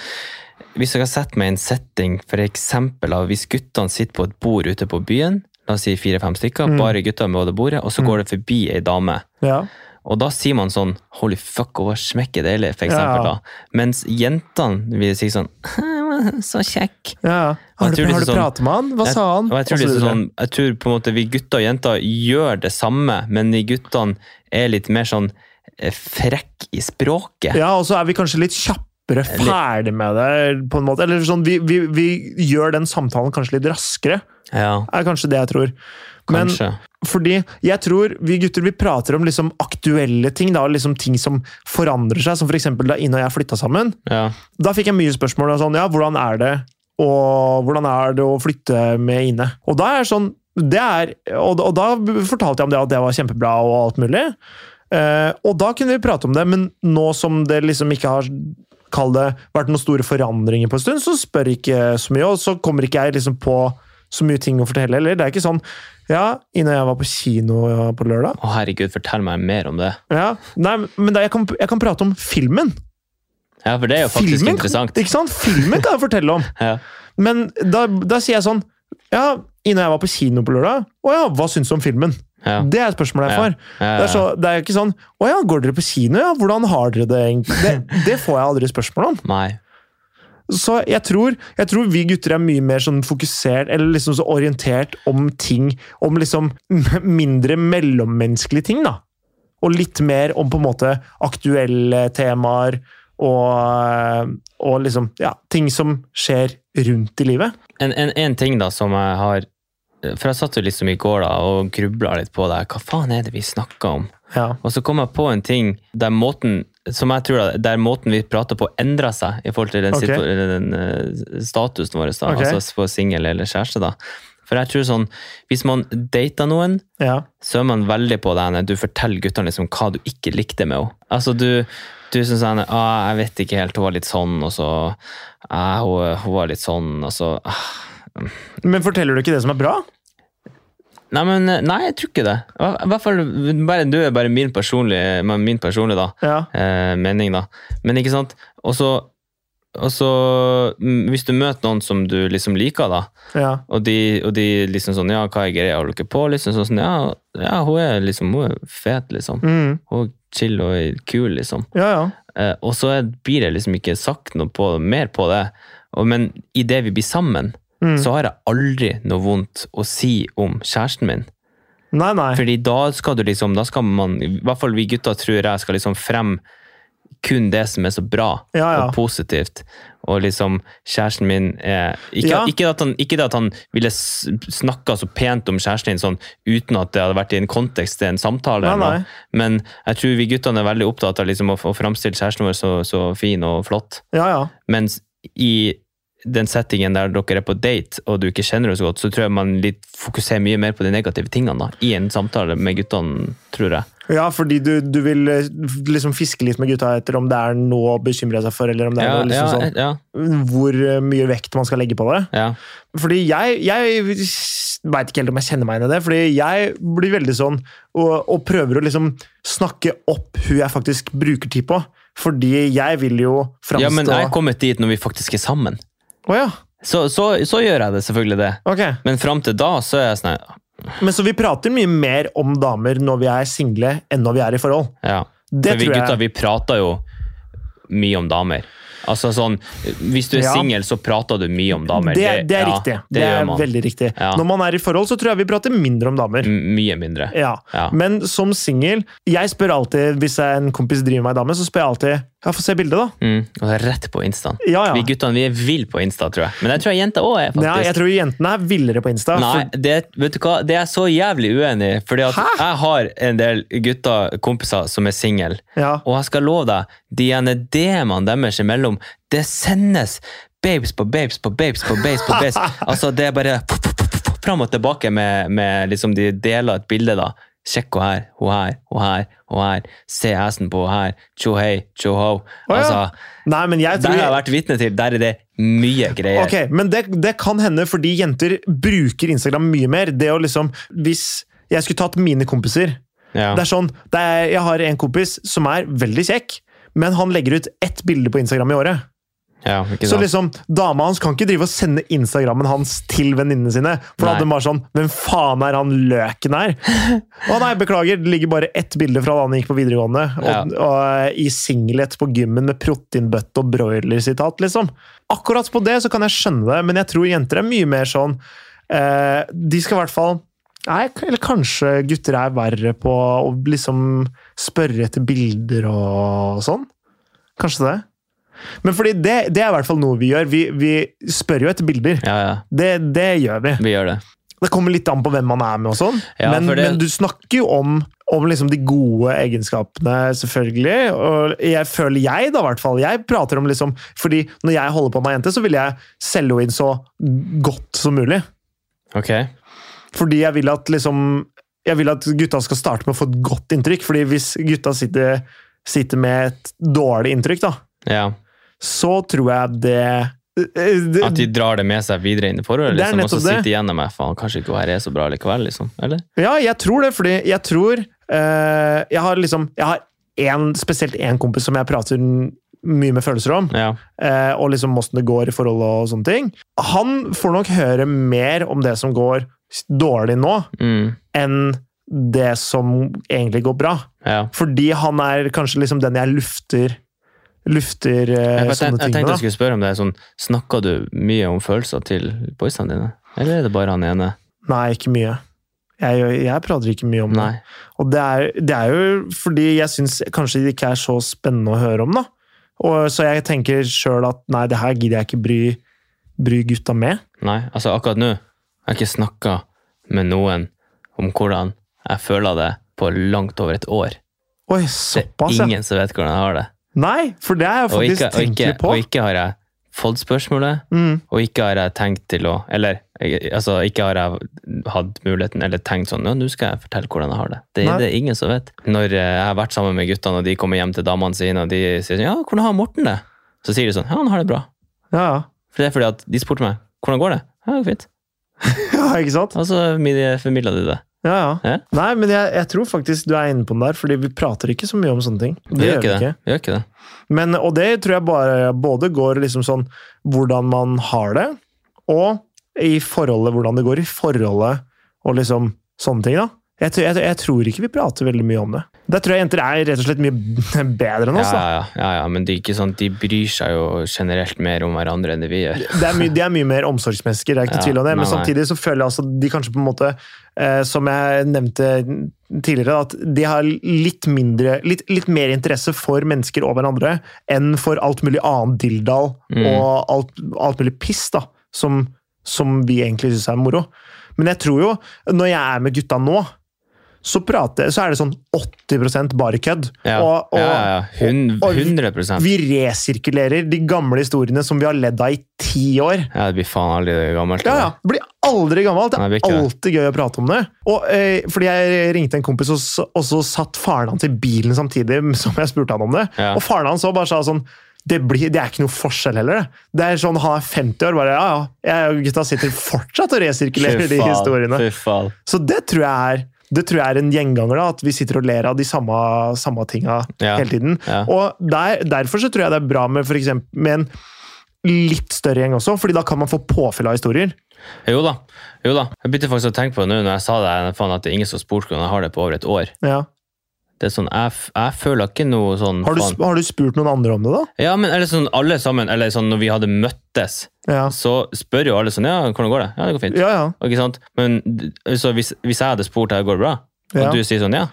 A: Hvis jeg har sett meg i en setting, for eksempel av hvis guttene sitter på et bord ute på byen, la oss si fire-fem stykker, bare gutter med det bordet, og så går det forbi ei dame.
B: ja.
A: Og da sier man sånn Holy fuck, hun var smekke deilig, for
B: Ja.
A: eksempel. da. Mens jentene vil si sånn Så kjekk.
B: Ja, ja.
A: Og
B: Har du, har
A: jeg tror
B: du
A: liksom sånn-
B: pratet med han? Hva
A: Jeg-
B: sa han?
A: Og jeg tror,
B: Og så
A: liksom
B: videre.
A: sånn, jeg tror på en måte vi gutter og jenter gjør det samme, men vi guttene er litt mer sånn eh, frekk i språket.
B: Ja, og så er vi kanskje litt kjappere
A: Eller-
B: ferdig med det, på en måte. Eller sånn, vi, vi, vi gjør den samtalen kanskje litt raskere,
A: Ja,
B: er kanskje det jeg tror. Men-
A: kanskje.
B: Fordi jeg tror vi gutter vi prater om liksom aktuelle ting, da, liksom ting som forandrer seg. Som f.eks. da Ine og jeg flytta sammen.
A: ja.
B: Da fikk jeg mye spørsmål om sånn, ja, hvordan er det og hvordan er det å flytte med Ine. Og da er jeg sånn, det er, og, og da fortalte jeg om det at det var kjempebra og alt mulig. Eh, og da kunne vi prate om det, men nå som det liksom ikke har kall det, vært noen store forandringer på en stund, så spør jeg ikke så mye, og så kommer ikke jeg liksom på så mye ting å fortelle heller. Det er ikke sånn Ja, Ine og jeg var på kino på lørdag.
A: Å, herregud, fortell meg mer om det.
B: Ja, nei, men det, jeg, kan, jeg kan prate om filmen.
A: Ja, for det er jo faktisk
B: filmen,
A: interessant.
B: Ikke sant? Filmen kan jeg fortelle om.
A: Ja.
B: Men da, da sier jeg sånn Ja, Ine og jeg var på kino på lørdag. Å ja, hva syns du om filmen?
A: Ja.
B: Det er spørsmålet jeg får.
A: Ja, ja,
B: Det, er så, det er jo ikke sånn Å ja, går dere på kino? Ja, hvordan har dere det egentlig? Det, det får jeg aldri spørsmål om.
A: Nei.
B: Så jeg tror, jeg tror vi gutter er mye mer sånn fokusert, eller liksom så orientert om ting, om liksom m- mindre mellommenneskelige ting, da. Og litt mer om på en måte aktuelle temaer og, og liksom, ja, ting som skjer rundt i livet.
A: En, en, en ting da som jeg har For jeg satt jo liksom i går da og grubla litt på det. her. Hva faen er det vi snakker om?
B: Ja.
A: Og så kom jeg på en ting der måten som jeg tror da, der måten vi prater på, endra seg i forhold til den,
B: Ok.
A: situ- eller den eh, statusen vår, da,
B: Ok.
A: altså på singel eller kjæreste. da. For jeg tror sånn, Hvis man dater noen,
B: ja.
A: så er man veldig på det henne. Du forteller guttene liksom hva du ikke likte med henne. Altså, du, du syns henne ah, 'Jeg vet ikke helt, hun var litt sånn', og så ah, hun, 'Hun var litt sånn', og så ah.
B: Men forteller du ikke det som er bra?
A: Nei, men, nei, jeg tror ikke det. I hvert fall, bare, Du er bare min personlige, men min personlige da,
B: Ja.
A: eh, mening, da. Men ikke sant? Og så og så, mm, Hvis du møter noen som du liksom liker, da,
B: ja.
A: og de, og de liksom sånn Ja, hva er greia? Holder dere på? Liksom sånn, ja, ja, hun er liksom hun er fet, liksom.
B: Mm.
A: Hun er chill og er kul, liksom.
B: Ja, ja.
A: Eh, og så er- blir det liksom ikke sagt noe på, mer på det. Og, men idet vi blir sammen,
B: Mm.
A: så har jeg aldri noe vondt å si om kjæresten min.
B: Nei, nei.
A: Fordi da skal du liksom, da skal man, i hvert fall vi gutter tror jeg skal liksom frem kun det som er så bra
B: Ja, ja.
A: og positivt. Og liksom, kjæresten min er ikke,
B: Ja.
A: ikke, at han, ikke det at han ville s- snakka så pent om kjæresten din sånn, uten at det hadde vært i en kontekst til en samtale,
B: Nei,
A: eller
B: nei.
A: noe. men jeg tror vi guttene er veldig opptatt av liksom, å, å framstille kjæresten vår så, så fin og flott.
B: Ja, ja.
A: Mens i den settingen der dere er på date, og du ikke kjenner henne så godt, så tror jeg man litt fokuserer mye mer på de negative tingene da, i en samtale med guttene, tror jeg.
B: Ja, fordi du, du vil eh, liksom fiske litt med gutta etter om det er noe å bekymre seg for, eller om det er
A: Ja,
B: noe
A: ja,
B: liksom sånn,
A: ja,
B: hvor eh, mye vekt man skal legge på det.
A: ja.
B: Fordi jeg, jeg veit ikke helt om jeg kjenner meg inn i det, fordi jeg blir veldig sånn og, og prøver å liksom snakke opp hun jeg faktisk bruker tid på. Fordi jeg vil jo framstå
A: ja, men jeg er kommet dit når vi faktisk er sammen.
B: Å ja,
A: Så, så, så gjør jeg det, selvfølgelig det.
B: ok.
A: Men fram til da, så er jeg sånn
B: Men så vi prater mye mer om damer når vi er single, enn når vi er i forhold.
A: Ja.
B: Det
A: For vi
B: tror jeg.
A: gutter, vi prater jo mye om damer. Altså sånn, Hvis du er
B: Ja.
A: singel, så prater du mye om damer.
B: Det, det er
A: ja,
B: riktig. Det,
A: Det, gjør
B: er
A: man.
B: veldig riktig.
A: Ja.
B: Når man er i forhold, så tror jeg vi prater mindre om damer.
A: M mye mindre.
B: Ja.
A: Ja.
B: Men som singel Jeg spør alltid, hvis jeg, en kompis driver meg i dame, så spør jeg alltid Ja, få se bildet, da.
A: Mm. Og det er rett på instaen.
B: Ja, ja.
A: Vi guttene vi er vill på Insta, tror jeg. Men jeg tror jenter òg er, faktisk.
B: Ja, jeg tror jentene er villere på Insta.
A: Nei, det, vet du hva? det er jeg så jævlig uenig i. Fordi at
B: Hæ?
A: jeg har en del gutter, kompiser, som er single.
B: For, ja.
A: Og jeg skal love deg, de ene DM-ene deres imellom, det sendes babes på babes på babes på babes på babes. altså, det er bare fram og tilbake med, med liksom de deler et bilde, da. Sjekk henne her, hun her, hun her, hun her. Se assen på hun her. Tjo hei, tjo ho.
B: Å, ja.
A: Altså,
B: Nei, men jeg
A: det
B: tror
A: har jeg vært vitne til. Der er det mye greier.
B: Ok, men det, det kan hende fordi jenter bruker Instagram mye mer. Det å liksom Hvis jeg skulle tatt mine kompiser
A: Ja.
B: Det er sånn, det er, Jeg har en kompis som er veldig kjekk, men han legger ut ett bilde på Instagram i året.
A: Ja, ikke
B: Så
A: sant?
B: liksom, Dama hans kan ikke drive og sende Instagrammen hans til venninnene sine. For da
A: Nei.
B: hadde de bare sånn Hvem faen er han løken her? Å nei, beklager, det ligger bare ett bilde fra da han gikk på videregående. Og,
A: Ja.
B: og i singlet på gymmen med proteinbøtte og broiler-sitat, liksom. Akkurat på det så kan jeg skjønne det, men jeg tror jenter er mye mer sånn eh, De skal i hvert fall Nei, k- eller kanskje gutter er verre på å liksom spørre etter bilder og sånn. Kanskje det. Men fordi det, det er i hvert fall noe vi gjør. Vi, vi spør jo etter bilder.
A: Ja, ja.
B: Det, det gjør vi.
A: Vi gjør det.
B: Det kommer litt an på hvem man er med og sånn.
A: Ja,
B: men,
A: for det-
B: men du snakker jo om, om liksom de gode egenskapene, selvfølgelig. Og jeg føler jeg, da, i hvert fall. Jeg prater om liksom Fordi når jeg holder på med ei jente, så vil jeg selge henne inn så godt som mulig.
A: Ok.
B: Fordi jeg vil at liksom jeg vil at gutta skal starte med å få et godt inntrykk. fordi hvis gutta sitter, sitter med et dårlig inntrykk, da,
A: Ja.
B: så tror jeg det, eh, det
A: At de drar det med seg videre inn i forholdet,
B: Det er
A: liksom, og så
B: nettopp det.
A: sitter de igjen med faen, kanskje ikke hun her er så bra likevel, liksom. Eller?
B: Ja, jeg tror det, fordi jeg tror eh, Jeg har liksom Jeg har en, spesielt én kompis som jeg prater n- mye med følelser om,
A: Ja.
B: eh, og liksom åssen det går i forholdet og sånne ting. Han får nok høre mer om det som går s- dårlig nå,
A: Mm.
B: enn det som egentlig går bra.
A: Ja.
B: Fordi han er kanskje liksom den jeg lufter Lufter eh,
A: Jeg,
B: sånne
A: jeg, tenkte- jeg
B: ting
A: tenkte jeg
B: med. da.
A: skulle spørre om det. er Sånn, Snakka du mye om følelser til boysene dine? Eller er det bare han ene?
B: Nei, ikke mye. Jeg, gjør- jeg prater ikke mye om det.
A: Nei.
B: Og det er, det er jo fordi jeg syns kanskje det ikke er så spennende å høre om, da. Og, så jeg tenker sjøl at nei, det her gidder jeg ikke bry, bry gutta med.
A: Nei. Altså, akkurat nå jeg har jeg ikke snakka med noen om hvordan jeg føler det på langt over et år.
B: Oi,
A: Det
B: såpass,
A: er
B: ja.
A: ingen som vet hvordan jeg har det.
B: Nei, for det har jeg
A: Og
B: faktisk
A: ikke, og,
B: tenkt
A: ikke,
B: litt på.
A: og ikke har jeg fått spørsmålet,
B: Mm.
A: og ikke har jeg tenkt til å Eller jeg- altså, ikke har jeg hatt muligheten eller tenkt sånn Ja, nå skal jeg fortelle hvordan jeg har det. Det,
B: Nei.
A: det er ingen som vet. Når eh, jeg har vært sammen med guttene, og de kommer hjem til damene sine, og de sier sånn Ja, hvordan har Morten det? Så sier de sånn Ja, han har det bra.
B: Ja, ja.
A: For det er fordi at de spurte meg hvordan går det Ja, det går fint.
B: ja, ikke sant?
A: Og så formidla de det.
B: Ja, ja.
A: Ja.
B: Nei, men jeg, jeg tror faktisk du er inne på den der, fordi vi prater ikke så mye om sånne ting.
A: Vi gjør ikke det. Vi gjør ikke det.
B: Men, og det tror jeg bare både går liksom sånn hvordan man har det, og i forholdet, hvordan det går i forholdet, og liksom sånne ting, da. Jeg, tror- jeg, jeg tror ikke vi prater veldig mye om det. Der tror jeg jenter er rett og slett mye b- bedre enn
A: Ja,
B: oss, da.
A: ja, ja, ja, men det er ikke sånn, de bryr seg jo generelt mer om hverandre enn det vi gjør.
B: Det er mye, de er mye mer omsorgsmennesker, det er ikke noe
A: Ja,
B: tvil om det. Men
A: nei, nei.
B: samtidig så føler jeg altså at de kanskje på en måte, eh, som jeg nevnte tidligere, at de har litt mindre, litt, litt mer interesse for mennesker og hverandre enn for alt mulig annet dilldall
A: Mm.
B: og alt, alt mulig piss da, som, som vi egentlig syns er moro. Men jeg tror jo, når jeg er med gutta nå, så, prater, så er det sånn 80 bare kødd.
A: Ja,
B: Og, og,
A: ja, ja, ja. Hun-
B: og- og vi-
A: 100
B: Vi resirkulerer de gamle historiene som vi har ledd av i ti år.
A: Ja, det blir faen aldri gammelt.
B: Ja, ja. Det blir aldri gammelt. Det
A: Nei,
B: er
A: det blir ikke det.
B: alltid gøy å prate om det. Og, eh, fordi jeg ringte en kompis, og så, og så satt faren hans i bilen samtidig som jeg spurte han om det.
A: Ja.
B: Og faren hans så bare sa sånn det, blir, det er ikke noe forskjell heller. det. Det er sånn, Han er 50 år, bare ja, ja. Jeg og gutta sitter fortsatt og resirkulerer de historiene.
A: Fy faen.
B: Så det tror jeg er det tror jeg er en gjenganger, da, at vi sitter og ler av de samme, samme tinga
A: Ja,
B: hele tiden.
A: ja.
B: Og der, Derfor så tror jeg det er bra med, for eksempel, med en litt større gjeng også, fordi da kan man få påfyll av historier.
A: Jo da. jo da. Jeg begynte faktisk å tenke på det nå når jeg sa det, faen at det er ingen som har spurt hvordan jeg har det på over et år.
B: Ja.
A: Det er sånn, Jeg, f- jeg føler ikke noe sånn
B: Har, du,
A: faen.
B: sp- har du spurt noen andre om det, da?
A: Ja, men eller sånn alle sammen, eller sånn når vi hadde møttes,
B: Ja,
A: så spør jo alle sånn Ja, hvordan går det? Ja, det går fint.
B: ja. ja.
A: Ikke sant? Men d- så hvis, hvis jeg hadde spurt deg, går det bra? Og
B: Ja.
A: du sier sånn, ja.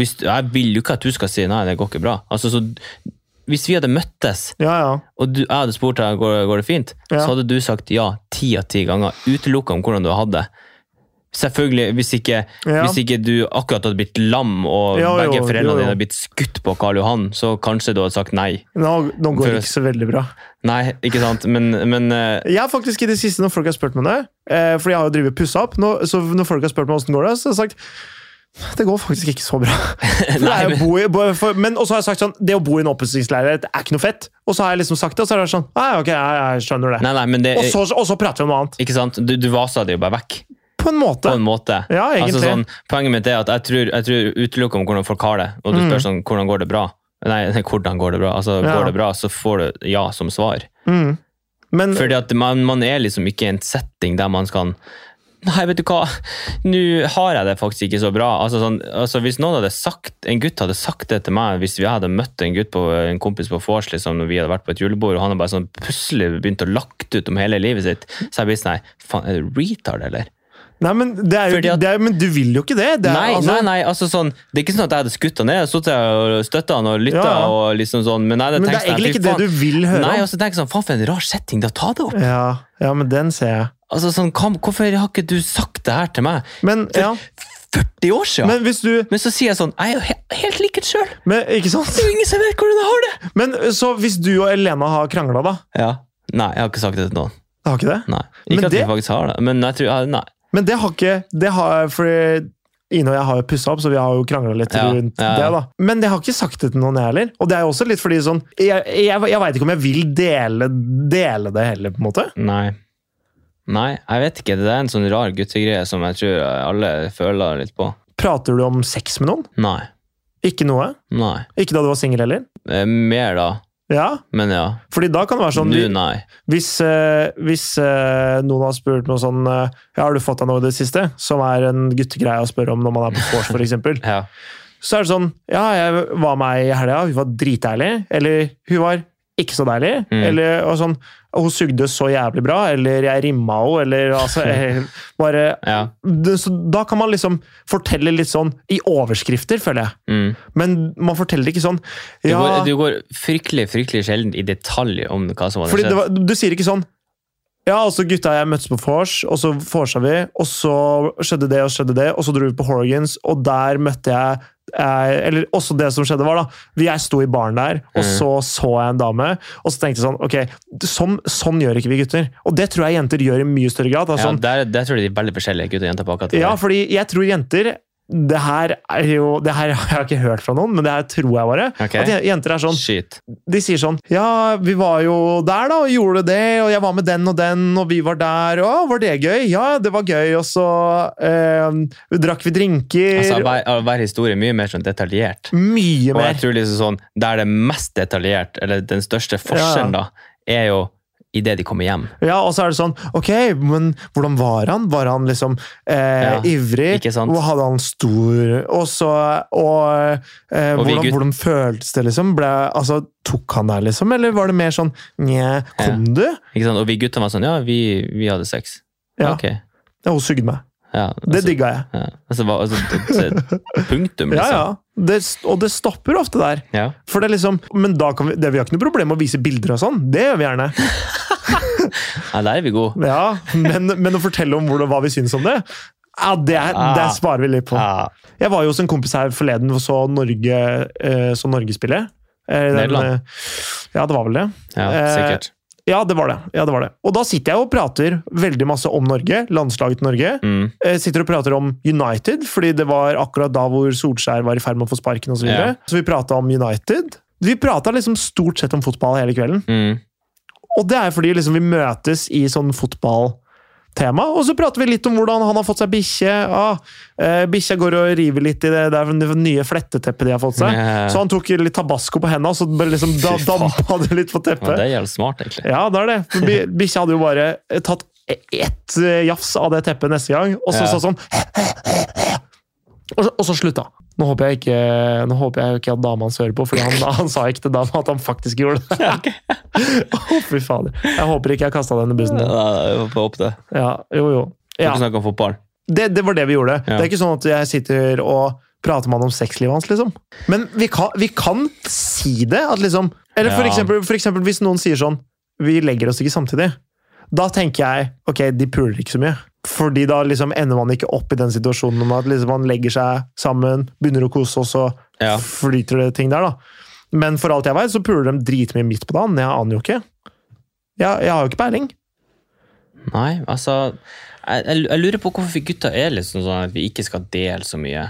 A: Hvis, jeg vil jo ikke at du skal si nei, det går ikke bra. Altså, så, hvis vi hadde møttes,
B: ja, ja.
A: og du, jeg hadde spurt deg går, går det fint,
B: Ja.
A: så hadde du sagt ja ti av ti ganger, utelukka om hvordan du hadde det. Selvfølgelig, hvis ikke,
B: Ja.
A: hvis ikke du akkurat hadde blitt lam, og
B: Ja, jo,
A: begge
B: jo, jo.
A: foreldrene dine hadde blitt skutt på Karl Johan, så kanskje du hadde sagt nei.
B: Nå, nå går
A: For-
B: det ikke så veldig bra.
A: Nei, ikke sant? Men, men eh,
B: Jeg har faktisk i det siste, når folk har spurt meg det, eh, fordi jeg har jo drevet og pussa opp, nå, så når folk har spurt meg åssen går det, så har jeg sagt det går faktisk ikke så bra. For det
A: Nei,
B: er
A: men-
B: jo bo i, bo, for, men og så har jeg sagt sånn Det å bo i en oppussingsleilighet er ikke noe fett. Og så har jeg liksom sagt det, og så har jeg vært sånn Nei, ok, jeg, jeg skjønner det.
A: Nei, eh, nei, men det
B: Og så, og så prater vi om noe annet.
A: Ikke sant? Du, du vasa det jo bare vekk.
B: På en måte.
A: På en måte.
B: Ja, egentlig.
A: Altså, sånn, poenget mitt er at jeg tror, jeg tror utelukket om hvordan folk har det, og du spør sånn, hvordan går det bra? Nei, hvordan går det bra? Altså,
B: Mm. Ja.
A: går det bra, så får du ja som svar.
B: Mm. Men
A: Fordi at man, man er liksom ikke i en setting der man skal Nei, vet du hva, nå har jeg det faktisk ikke så bra. Altså, sånn, altså Hvis noen hadde sagt, en gutt hadde sagt det til meg, hvis jeg hadde møtt en gutt på en kompis på vors liksom, når vi hadde vært på et julebord, og han hadde bare sånn plutselig begynt å lagt ut om hele livet sitt, så jeg blitt sånn Nei, faen, er du retard, eller?
B: Nei, men, det er jo,
A: Fordi at-
B: det er, men du vil jo ikke det. det er,
A: Nei,
B: altså,
A: nei, nei, altså sånn Det er ikke sånn at jeg hadde skutt han ned. Jeg satt og støtta han og lytta.
B: Ja, ja.
A: Og liksom sånn, men nei, det,
B: Men det
A: tenkte
B: er
A: jeg,
B: egentlig
A: fy
B: ikke det
A: faen.
B: du vil høre
A: Nei,
B: om.
A: og så tenker jeg sånn, faen for en rar setting, da ta det opp!
B: Ja, ja, men den ser jeg.
A: Altså sånn, hva, Hvorfor har ikke du sagt det her til meg
B: Men, ja.
A: 40 år siden? Men,
B: men hvis du
A: så sier jeg sånn, jeg er jo he helt lik en sjøl!
B: men, Ikke sant?
A: Det er jo ingen som vet hvordan jeg har det!
B: Men eh, så hvis du og Elena har krangla, da?
A: Ja. Nei, jeg har ikke sagt det til noen.
B: Det
A: Mm.
B: har ikke det?
A: Nei.
B: Men
A: Ikke at
B: det-
A: vi faktisk har det, men jeg tror, ja, nei.
B: Men det har ikke det har, For Ine og jeg har jo pussa opp, så vi har jo krangla litt
A: Ja,
B: rundt
A: ja,
B: det.
A: ja.
B: da. Men jeg har ikke sagt det til noen, jeg heller. Og det er jo også litt fordi sånn Jeg, jeg, jeg veit ikke om jeg vil dele, dele det heller, på en måte.
A: Nei. Nei, jeg vet ikke. Det er en sånn rar guttegreie som jeg tror alle føler litt på.
B: Prater du om sex med noen?
A: Nei.
B: Ikke noe.
A: Nei.
B: Ikke da du var singel heller.
A: Eh, Mer da,
B: Ja,
A: men ja.
B: fordi da kan det være sånn
A: Nå, nei.
B: Hvis, eh, hvis eh, noen har spurt noe sånn eh, ja, 'Har du fått deg noe i det siste?' som er en guttegreie å spørre om når man er på vors, for eksempel
A: Ja.
B: så er det sånn 'Ja, jeg var med ei i helga, hun var dritdeilig.' Eller 'Hun var ikke så deilig.'
A: Mm.
B: Eller og sånn 'Hun sugde så jævlig bra.' Eller 'Jeg rimma henne', eller altså eh, Bare
A: Ja.
B: Det- Så da kan man liksom fortelle litt sånn i overskrifter, føler jeg.
A: Mm.
B: Men man forteller ikke sånn
A: Du,
B: ja,
A: går, du går fryktelig fryktelig sjelden i detalj om hva som hadde
B: Fordi
A: skjedd.
B: det var, du sier ikke sånn ja, altså gutta og jeg møttes på vors, og så vorsa vi, og så skjedde det og skjedde det, og så dro vi på Horgans, og der møtte jeg eh, Eller også det som skjedde, var da vi- Jeg sto i baren der, og
A: Mm.
B: så så jeg en dame, og så tenkte jeg sånn Ok, sånn, sånn gjør ikke vi gutter. Og det tror jeg jenter gjør i mye større grad. da,
A: ja,
B: sånn,
A: der, der tror jeg de er veldig forskjellige, gutter og jenter. på akkurat det.
B: ja, fordi jeg tror jenter det her er jo Det her har jeg ikke hørt fra noen, men det her tror jeg bare.
A: Ok.
B: At je- jenter er sånn
A: Shit.
B: de sier sånn Ja, vi var jo der, da, og gjorde det, og jeg var med den og den, og vi var der, og var det gøy? Ja, det var gøy, og så eh, drakk vi drinker
A: Altså, hver, hver historie er mye mer sånn detaljert.
B: Mye
A: Og
B: mer.
A: jeg tror liksom sånn, Der det er mest detaljert, eller den største forskjellen, da, er jo idet de kommer hjem.
B: Ja, Og så er det sånn Ok, men hvordan var han? Var han liksom eh,
A: Ja,
B: ivrig?
A: ikke sant?
B: Og hadde han stor Og så Og, eh,
A: Og vi
B: hvordan,
A: gutt-
B: hvordan føltes det, liksom? Ble, altså, tok han deg, liksom? Eller var det mer sånn Nja, kom du?
A: Ikke sant? Og vi guttene var sånn Ja, vi, vi hadde sex.
B: Ja.
A: Ok.
B: Ja, hun sugde meg.
A: Ja,
B: Det
A: altså,
B: digga jeg.
A: ja. Altså, hva- altså, det- det- punktum,
B: Ja, ja.
A: liksom.
B: Det, og det stopper ofte der.
A: Ja, ja.
B: For det er liksom, men da kan vi, det, vi har ikke noe problem med å vise bilder og sånn. Det gjør vi gjerne.
A: der er vi gode.
B: Ja, Men, men å fortelle om hvordan, hva vi syns om det, ja, det, er- det sparer vi litt på.
A: Ja.
B: Jeg var jo hos en kompis her forleden og så Norge, eh, så Norge spille. Eh, den,
A: Nederland.
B: eh, Ja, det var vel det.
A: ja,
B: Eh,
A: sikkert.
B: Ja, det var det. Ja, det var det. Og da sitter jeg og prater veldig masse om Norge, landslaget til Norge.
A: Mm.
B: Eh, sitter og prater om United, fordi det var akkurat da hvor Solskjær var i ferd med å få sparken osv. Så, videre. så vi prata om United. Vi prata liksom stort sett om fotball hele kvelden.
A: Mm.
B: Og det er fordi liksom vi møtes i sånn fotballtema, og så prater vi litt om hvordan han har fått seg bikkje. Ah, eh, Bikkja går og river litt i det, der, det nye fletteteppet de har fått seg.
A: Ja.
B: Så sånn. han tok litt tabasco på hendene, og så bare liksom da,
A: Fy faen.
B: dampa det litt på
A: Ja, det
B: teppet.
A: er jævlig smart, egentlig.
B: Ja, det er det. For bi- Bikkja hadde jo bare eh, tatt ett eh, jafs av det teppet neste gang, og så
A: Ja.
B: sa sånn og så, og så slutta. Nå håper jeg ikke, nå håper jeg ikke at dama hans hører på, for han, han sa ikke til dama at han faktisk gjorde det.
A: Ja, ok.
B: Å, fy fader. Jeg håper ikke jeg kasta den i bussen.
A: Ja,
B: din.
A: jeg får håpe det.
B: Ja, jo, jo.
A: Vi
B: Ja,
A: kan snakke om fotball.
B: det, det var det vi gjorde.
A: Ja.
B: Det er ikke sånn at jeg sitter og prater med han om sexlivet hans, liksom. Men vi kan, vi kan si det. At liksom, eller for,
A: Ja.
B: eksempel, for eksempel hvis noen sier sånn Vi legger oss ikke samtidig. Da tenker jeg ok, de puler ikke så mye. Fordi da liksom ender man ikke opp i den situasjonen om at liksom man legger seg sammen, begynner å kose, og så
A: Ja.
B: flyter det ting der, da. Men for alt jeg vet, så puler de dritmye midt på dagen. Jeg aner jo ikke. Jeg, jeg har jo ikke peiling.
A: Nei, altså jeg, jeg, jeg lurer på hvorfor vi gutter er liksom sånn at vi ikke skal dele så mye.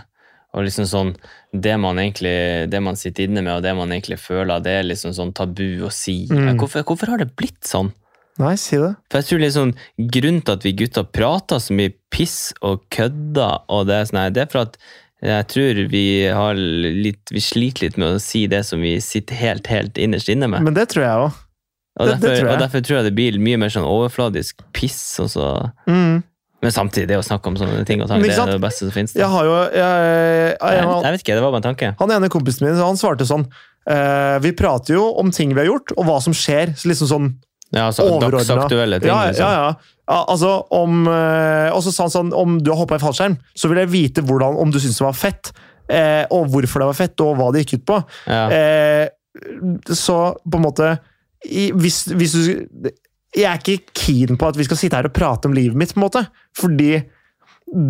A: Og liksom sånn, Det man egentlig, det man sitter inne med, og det man egentlig føler, det er liksom sånn tabu å si.
B: Mm.
A: Hvorfor, hvorfor har det blitt sånn?
B: Nei, si det.
A: For jeg tror liksom, Grunnen til at vi gutter prater så mye piss og kødder, og det, er sånn her, det er for at jeg tror vi, har litt, vi sliter litt med å si det som vi sitter helt helt innerst inne med.
B: Men det tror jeg òg.
A: Og
B: det-
A: derfor,
B: det tror jeg.
A: og derfor tror jeg det blir mye mer sånn overfladisk piss. og så...
B: Mm.
A: Men samtidig, det å snakke om sånne ting og tang,
B: Men
A: det
B: ikke
A: er
B: sant?
A: det beste som finnes. da.
B: Jeg har jo jeg, jeg,
A: jeg,
B: jeg,
A: jeg vet ikke, det var bare en tanke.
B: Han ene kompisen min han svarte sånn eh, Vi prater jo om ting vi har gjort, og hva som skjer. Så liksom sånn
A: Ja, altså,
B: Overordnet.
A: Dagsaktuelle ting.
B: Ja, ja,
A: liksom.
B: ja. ja altså, om, eh, og så sa han sånn Om du har hoppa i fallskjerm, så vil jeg vite hvordan, om du syns det var fett, eh, og hvorfor det var fett, og hva det gikk ut på.
A: Ja.
B: Eh, så på en måte i, hvis, hvis du Jeg er ikke keen på at vi skal sitte her og prate om livet mitt, på en måte. Fordi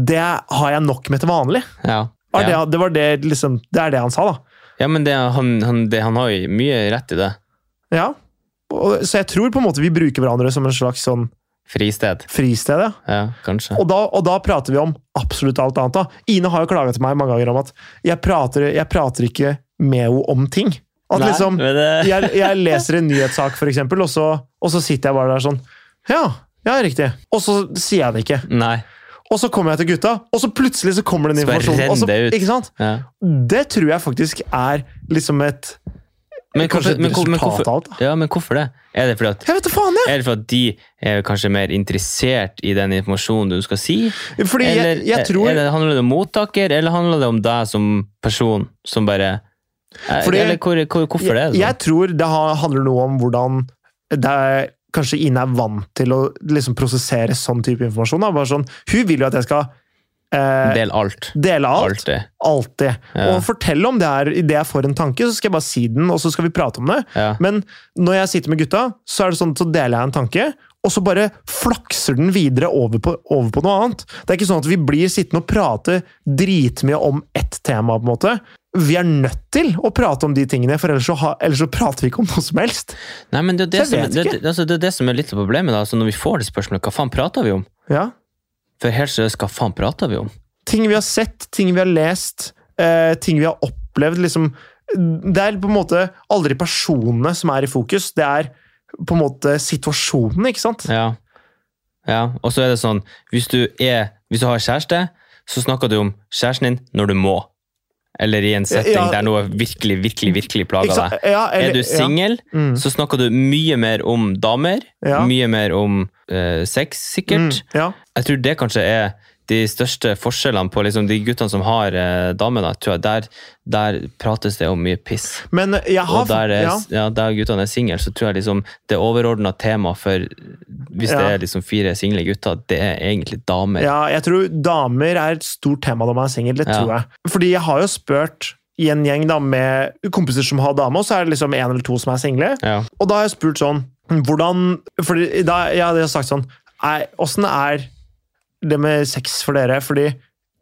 B: det har jeg nok med til vanlig.
A: Ja.
B: Var
A: Ja.
B: Det, det, var det, liksom, det er det han sa, da.
A: ja, men det, han, han, det, han har jo mye rett i det.
B: Ja. Og, så jeg tror på en måte vi bruker hverandre som en slags sånn
A: Fristed.
B: Fristed, ja.
A: Ja, kanskje.
B: Og da, og da prater vi om absolutt alt annet. da. Ine har jo klaga til meg mange ganger om at jeg prater, jeg prater ikke med henne om ting. At
A: Nei,
B: liksom,
A: men det-
B: jeg, jeg leser en nyhetssak, for eksempel, og så, og så sitter jeg bare der sånn Ja, ja, riktig. Og så sier jeg det ikke.
A: Nei.
B: Og så kommer jeg til gutta, og så plutselig så kommer den
A: Så bare
B: informasjonen. Og
A: renner
B: så,
A: det ut.
B: ikke sant?
A: Ja.
B: Det tror jeg faktisk er liksom et
A: Men,
B: Kanskje
A: hvorfor,
B: et
A: men, hvor- men,
B: resultat av alt, da.
A: hvorfor, ja, men hvorfor det? Er det fordi at
B: Jeg vet da faen, jeg!
A: er det for at de er kanskje mer interessert i den informasjonen du skal si?
B: Fordi jeg,
A: Eller, eh,
B: jeg tror
A: eller handler det om mottaker, eller handler det om deg som person som bare Eh,
B: Fordi-
A: Eller hvor, hvor, hvorfor det? er
B: Jeg,
A: sånn?
B: jeg tror det ha- handler noe om hvordan det er, kanskje Ine er vant til å liksom prosessere sånn type informasjon. Da. Bare sånn, hun vil jo at jeg skal eh,
A: Del alt.
B: dele alt,
A: Alltid.
B: alltid.
A: Ja.
B: Og fortelle om det her idet jeg får en tanke, så skal jeg bare si den, og så skal vi prate om det.
A: Ja.
B: Men når jeg sitter med gutta, så er det sånn, så deler jeg en tanke, og så bare flakser den videre over på, over på noe annet. Det er ikke sånn at vi blir sittende og prate dritmye om ett tema, på en måte. Vi er nødt til å prate om de tingene, for ellers så, ha, ellers så prater vi ikke om noe som helst.
A: Nei, men det
B: Så
A: er det,
B: jeg
A: som,
B: vet
A: det,
B: ikke.
A: det, altså, det er det som er litt av problemet. da, altså Når vi får det spørsmålet, hva faen prater vi om?
B: Ja.
A: For helt seriøst, hva faen prater vi om?
B: Ting vi har sett, ting vi har lest, eh, ting vi har opplevd, liksom. Det er på en måte aldri personene som er i fokus, det er på en måte situasjonen, ikke sant?
A: Ja. ja. Og så er det sånn, hvis du, er, hvis du har kjæreste, så snakker du om kjæresten din når du må. Eller i en setting
B: Ja.
A: der noe virkelig, virkelig, virkelig
B: Ikke
A: plager
B: sant?
A: deg.
B: Ja, eller-
A: Er du
B: ja.
A: singel,
B: Mm.
A: så snakker du mye mer om damer.
B: Ja.
A: Mye mer om eh, sex, sikkert.
B: Mm, ja.
A: Jeg tror det kanskje er de største forskjellene på liksom, de guttene som har eh, damer. da, tror jeg. Der, der prates det om mye piss.
B: Men jeg har
A: Og der, er,
B: ja.
A: ja. der guttene er single, så tror jeg liksom det overordna temaet for Hvis det
B: Ja.
A: er liksom fire single gutter, det er egentlig damer.
B: ja, jeg tror damer er et stort tema når man er singel. Det
A: Ja.
B: tror jeg. Fordi jeg har jo spurt i en gjeng da, med kompiser som har dame, og så er det liksom en eller to som er single.
A: Ja.
B: Og da har jeg spurt sånn Hvordan Fordi da jeg hadde sagt sånn «Nei, Åssen er det med sex for dere? Fordi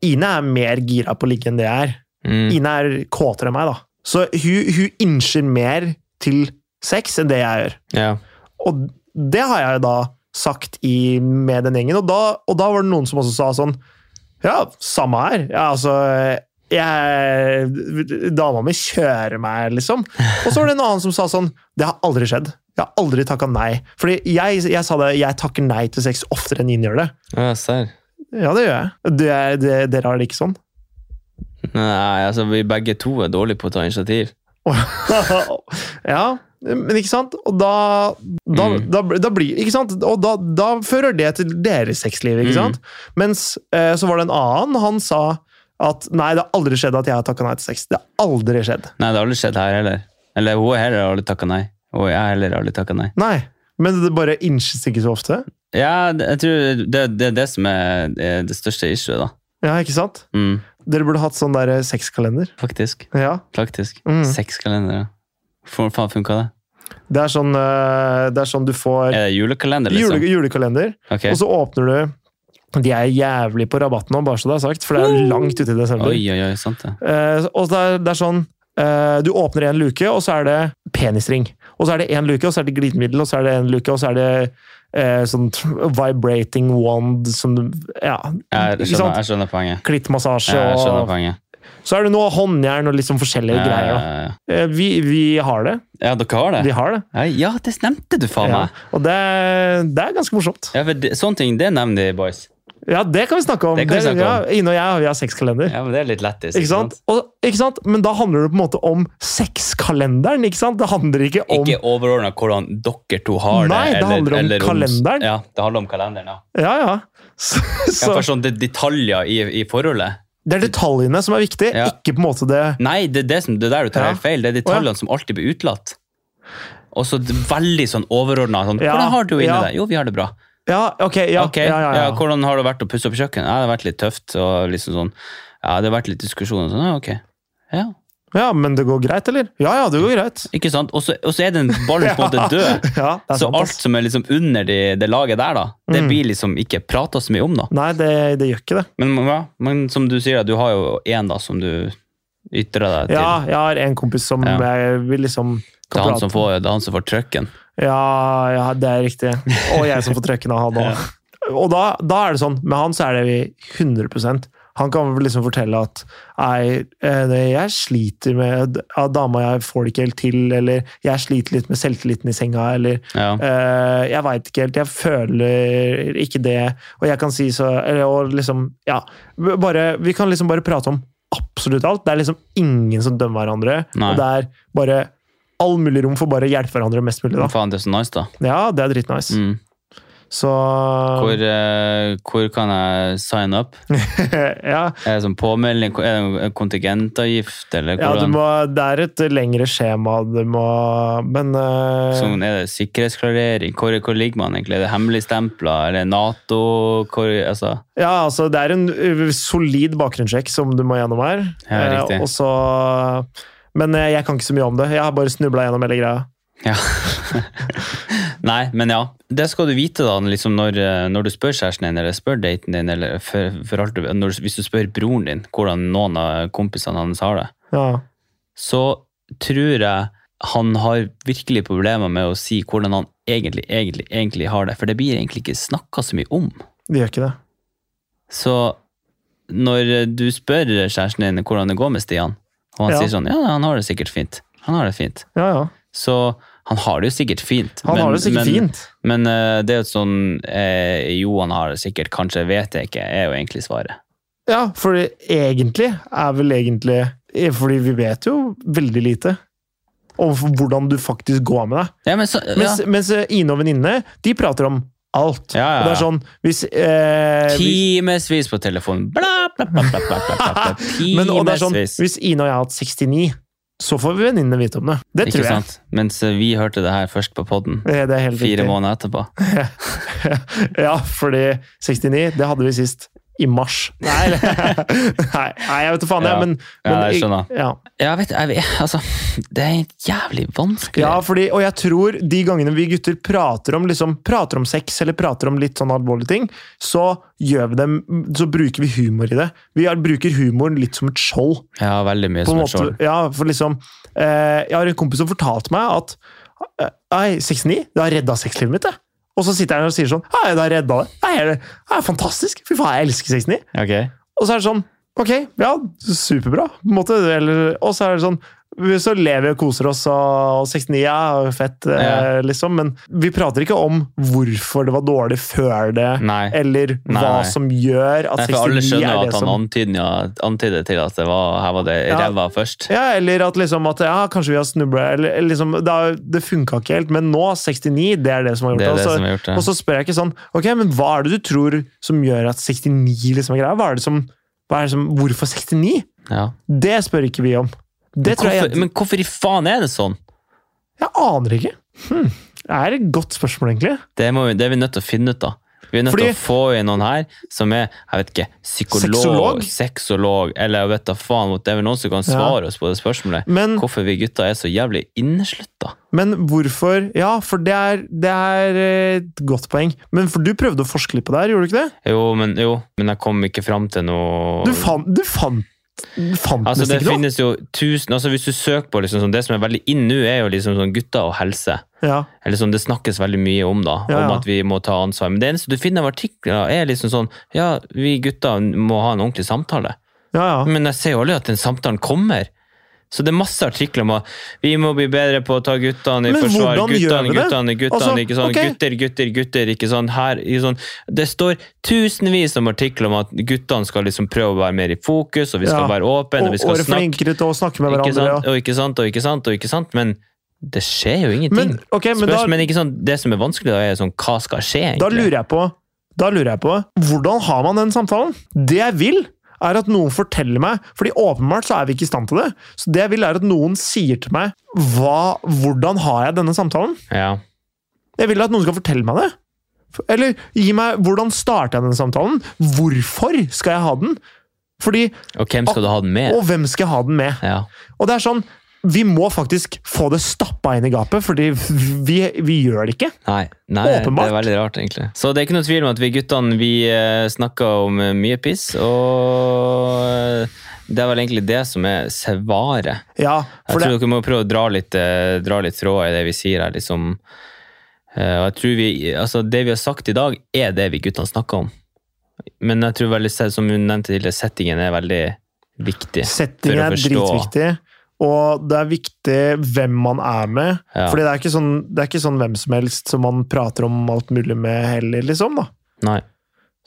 B: Ine er mer gira på å ligge enn det jeg er.
A: Mm.
B: Ine er kåtere enn meg, da. Så hun, hun innser mer til sex enn det jeg gjør.
A: ja.
B: Og det har jeg jo da sagt i, med den gjengen, og da, og da var det noen som også sa sånn Ja, samme her. Ja, altså jeg, Dama mi kjører meg, liksom. Og så var det en annen som sa sånn Det har aldri skjedd. Jeg har aldri takka nei. Fordi jeg, jeg sa det, jeg takker nei til sex oftere enn Ine gjør det.
A: Ja, serr.
B: Ja, det gjør jeg. Det, er- det, dere har det ikke sånn.
A: Nei, altså, vi begge to er dårlige på å ta initiativ.
B: ja, men ikke sant? Og da, da,
A: Mm.
B: da, da blir Ikke sant? Og da, da fører det til deres sexliv, ikke
A: Mm.
B: sant? Mens eh, så var det en annen, han sa at nei, det har aldri skjedd at jeg har takka nei til sex. Det har aldri skjedd.
C: Nei, det har aldri skjedd her heller. Eller hun heller har aldri takka nei. Og jeg har heller aldri takka nei.
B: Nei. Men det bare innses ikke så ofte.
C: Ja, det- jeg tror det, det er det som er eh, det største issuet, da.
B: Ja, ikke sant?
C: Mm,
B: Dere burde hatt sånn der eh, sexkalender.
C: faktisk.
B: Ja.
C: Faktisk.
B: Mm.
C: Sexkalender, ja. For faen funka det?
B: Det er sånn, eh, det er sånn du får
C: Er det julekalender,
B: jule,
C: liksom?
B: julekalender,
C: Ok.
B: og så åpner du De er jævlig på rabatten nå, bare så det er sagt, for det er langt ute i desember.
C: Oi, oi, oi, sant det.
B: Eh, og det er, det er sånn eh, Du åpner en luke, og så er det penisring. Og så er det én luke, og så er det glidemiddel, og så er det en luke, og så er det eh, sånn t- vibrating wand som du- Ja,
C: Jeg
B: ikke
C: skjønner,
B: sant?
C: jeg skjønner poenget.
B: Klittmassasje
C: Jeg skjønner
B: og
C: poenget.
B: Så er det noe håndjern og liksom forskjellige
C: Ja,
B: greier.
C: ja,
B: Da.
C: ja, ja.
B: Eh, vi, vi har det.
C: ja, dere har
B: De
C: det?
B: har det.
C: Ja, Ja, det nevnte du, faen
B: Ja.
C: meg!
B: Og det, det er ganske morsomt.
C: Ja, for det, Sånne ting, det nevner de, boys.
B: Ja, det kan vi snakke om.
C: Det kan vi snakke om.
B: Ja, Ine og jeg vi har sexkalender.
C: Ja, men Det er litt lættis.
B: Ikke sant? Og, ikke sant? Men da handler det på en måte om sexkalenderen. ikke sant? Det handler ikke om
C: Ikke overordna hvordan dere to har det.
B: Nei, det handler om kalenderen.
C: Ja, det handler om kalenderen, ja.
B: Ja, ja. Så,
C: Ja,
B: så,
C: for sånn det, detaljer i, i forholdet.
B: det er detaljene som er viktige,
C: Ja.
B: ikke på en måte det
C: Nei, det er det, som, det er der du tar
B: Ja.
C: helt feil. Det er
B: Å,
C: detaljene som alltid blir utelatt. Og så d- veldig sånn overordna. Sånn,
B: Ja,
C: 'Hvordan har du inne
B: ja.
C: det?' 'Jo, vi har det bra'.
B: Ja, ok, ja.
C: ok,
B: ja, ja, ja.
C: 'Hvordan har det vært å pusse opp kjøkkenet?' 'Ja, det har vært litt tøft', og liksom sånn Ja, det har vært litt diskusjoner og sånn. Ja, ok. Ja,
B: ja, men det går greit, eller? Ja, ja, det går greit.
C: ikke sant? Og så og så er den ballen på en måte død.
B: Ja, det er
C: Så
B: sant,
C: alt
B: ass. Mm.
C: som er liksom under de, det laget der, da, det blir liksom ikke prata så mye om, da.
B: Nei, det, det gjør ikke det.
C: Men, ja, men som du sier, da, du har jo én da, som du ytrer deg til.
B: Ja, jeg har en kompis som
C: Ja.
B: jeg vil liksom
C: Det
B: kan
C: er han
B: prate-
C: som får, det er han som får trøkken.
B: Ja, ja, det er riktig. Og jeg som får trøkken av han òg. Og da, da er det sånn, med han så er det vi 100 Han kan vel liksom fortelle at Nei, eh, det- jeg sliter med ja, dama jeg får det ikke helt til, eller jeg sliter litt med selvtilliten i senga, eller
A: Ja.
B: eh, jeg veit ikke helt, jeg føler ikke det, og jeg kan si så eller, Og liksom, ja. Bare, vi kan liksom bare prate om absolutt alt. Det er liksom ingen som dømmer hverandre,
A: Nei.
B: og det er bare all mulig rom for bare å hjelpe hverandre mest mulig. da.
A: Faen, det er så nice, da.
B: Ja, det er dritnice.
A: Mm.
B: Så
A: Hvor, eh, hvor kan jeg sign up?
B: ja,
A: Er det sånn påmelding? Er det en kontingentavgift, eller
B: ja du
A: hvordan?
B: må, det er et lengre skjema du må Men eh,
A: Sånn, er det sikkerhetsklarering? Hvor, hvor ligger man egentlig? Er det hemmeligstempler? Eller Nato? Hvor, altså,
B: ja, altså, det er en ø, solid bakgrunnssjekk som du må gjennom her.
A: Ja,
B: Eh,
A: riktig.
B: og så Men eh, jeg kan ikke så mye om det. Jeg har bare snubla gjennom hele greia.
A: ja. Nei, men ja. Det skal du vite da, liksom når, eh, når du spør kjæresten din, eller spør daten din, eller for, for alt, du- når, hvis du spør broren din hvordan noen av kompisene hans har det,
B: Ja.
A: så tror jeg han har virkelig problemer med å si hvordan han egentlig, egentlig, egentlig har det. For det blir egentlig ikke snakka så mye om.
B: Det gjør ikke det.
A: Så når du spør kjæresten din hvordan det går med Stian, og han
B: Ja.
A: sier sånn, ja, han har det sikkert fint. Han har det fint.
B: Ja, ja.
A: Så han har det jo sikkert fint.
B: Han har det sikkert
A: men,
B: fint.
A: Men eh, det er jo et sånn, eh, jo han har det sikkert, kanskje vet jeg ikke, er jo egentlig svaret.
B: Ja, for det egentlig er vel egentlig eh, Fordi vi vet jo veldig lite om hvordan du faktisk går med deg.
A: Ja, men så, ja.
B: Mens, mens eh, Ine og venninne, de prater om alt.
A: Ja, ja,
B: Og det er
A: ja.
B: sånn, hvis, eh, hvis
A: Timesvis på telefonen. Bla, bla, bla, bla, bla, bla, bla.
B: men, og det er sånn,
A: Timesvis.
B: hvis Ine og jeg har hatt 69, så får venninnene vite om det. Det
A: Ikke
B: tror jeg.
A: sant? Mens eh, vi hørte det her først på podden,
B: Eh, Det, det er helt
A: fire
B: riktig.
A: måneder etterpå.
B: ja, fordi 69, det hadde vi sist i mars. Nei, eller- nei, nei jeg vet da faen, jeg.
A: Ja.
B: Men,
A: Ja,
B: men
A: jeg skjønner.
B: Ja.
A: Ja, vet, jeg vet, altså, det er jævlig vanskelig.
B: Ja, fordi, og jeg tror de gangene vi gutter prater om, liksom, prater om sex eller prater om litt sånn alvorlige ting, så, gjør vi dem, så bruker vi humor i det. Vi er- bruker humoren litt som et skjold.
A: ja veldig mye
B: på en
A: som et
B: måte.
A: skjold.
B: Ja, for liksom, eh, jeg har en kompis som fortalte meg at eh, Nei, 69, det har redda sexlivet mitt. Det. Og så sitter jeg her og sier sånn Nei, det har redda det. Nei, det er fantastisk. Fy faen, jeg elsker 69.
A: Ok.
B: Og så er det sånn Ok, ja, superbra. på en måte. Eller, og så er det sånn så lever vi og koser oss, og 69 er fett, eh,
A: Ja.
B: liksom. Men vi prater ikke om hvorfor det var dårlig før det,
A: Nei.
B: eller
A: Nei,
B: hva
A: Mm. nei.
B: som gjør at
A: Nei, for alle
B: 69
A: skjønner
B: er
A: jo
B: det
A: at han
B: som
A: antyder, antyder til at det var, her var det
B: Ja.
A: ræva først.
B: Ja, eller at liksom at ja, kanskje vi har snubla eller, eller liksom, Det, har- det funka ikke helt, men nå, 69, det er det som har gjort
A: Det er det
B: altså,
A: som har gjort det.
B: Og så spør jeg ikke sånn Ok, men hva er det du tror som gjør at 69 liksom er greia? Hva er det som, hva er det som Hvorfor 69?
A: Ja.
B: Det spør ikke vi om. Det tror jeg
A: Hvorfor, men hvorfor i faen er det sånn?
B: Jeg aner ikke. Hmm. Det er et godt spørsmål, egentlig.
A: Det, må vi, det er vi nødt til å finne ut av. Vi er nødt
B: Fordi-
A: til å få inn noen her som er jeg vet ikke, psykolog,
B: Sexolog?
A: sexolog, eller jeg vet da faen, det er vel noen som kan svare oss på det spørsmålet.
B: Men,
A: Hvorfor vi gutter er så jævlig inneslutta.
B: men hvorfor Ja, for det er, det er eh, et godt poeng. Men for du prøvde å forske litt på det her, gjorde du ikke det?
A: Jo, men, jo, men jeg kom ikke fram til noe
B: Du fant, du fant, du fant
A: Altså,
B: nesten
A: det
B: ikke noe?
A: finnes jo tusen altså Hvis du søker på liksom, sånn, Det som er veldig inn nå, er jo liksom sånn gutter og helse.
B: Ja.
A: Eller sånn, Det snakkes veldig mye om da,
B: Ja,
A: om
B: ja.
A: at vi må ta ansvar. Men det eneste du finner av artikler, er liksom sånn Ja, vi gutter må ha en ordentlig samtale.
B: Ja, ja.
A: Men jeg ser jo aldri at den samtalen kommer. Så det er masse artikler om at vi må bli bedre på å ta guttene i
B: Men
A: forsvar.
B: hvordan
A: Guttene,
B: gjør vi
A: guttene,
B: det?
A: guttene,
B: Altså,
A: ikke sånn.
B: ok.
A: Gutter, gutter, gutter. ikke sånn. Her, ikke sånn. Det står tusenvis om artikler om at guttene skal liksom prøve å være mer i fokus, og vi skal
B: Ja.
A: være åpne, og vi
B: Og
A: skal
B: være
A: snakke.
B: flinkere til å snakke med
A: Ikke
B: hverandre.
A: sant,
B: Ja.
A: og ikke sant, og ikke sant, og ikke sant. Men det skjer jo ingenting.
B: Men, ok, men da,
A: Spørs, men ikke sånn, det som er vanskelig, da, er sånn, hva skal skje, egentlig?
B: da lurer jeg på da lurer jeg på, Hvordan har man den samtalen? Det jeg vil, er at noen forteller meg fordi åpenbart så er vi ikke i stand til det. Så det jeg vil, er at noen sier til meg hva, hvordan har jeg denne samtalen?
A: Ja.
B: Jeg vil at noen skal fortelle meg det. Eller gi meg Hvordan starta jeg denne samtalen? Hvorfor skal jeg ha den? Fordi,
A: Og hvem skal du ha den med?
B: Og hvem skal jeg ha den med?
A: Ja.
B: Og det er sånn Vi må faktisk få det stappa inn i gapet, fordi vi, vi gjør det ikke.
A: Nei, nei det
B: Åpenbart.
A: er veldig rart, egentlig. Så det er ikke noe tvil om at vi guttene vi eh, snakker om eh, mye piss, og eh, det er vel egentlig det som er svaret.
B: Ja,
A: Jeg
B: for det,
A: tror dere må prøve å dra litt, eh, dra litt tråder i det vi sier her, liksom. Eh, Og jeg tror vi, altså Det vi har sagt i dag, er det vi guttene snakker om. Men jeg tror veldig, som hun nevnte tidligere, settingen er veldig viktig.
B: Settingen
A: for å
B: er
A: forstå.
B: dritviktig, og det er viktig hvem man er med.
A: Ja.
B: Fordi det er, ikke sånn, det er ikke sånn hvem som helst som man prater om alt mulig med heller, liksom. da.
A: Nei,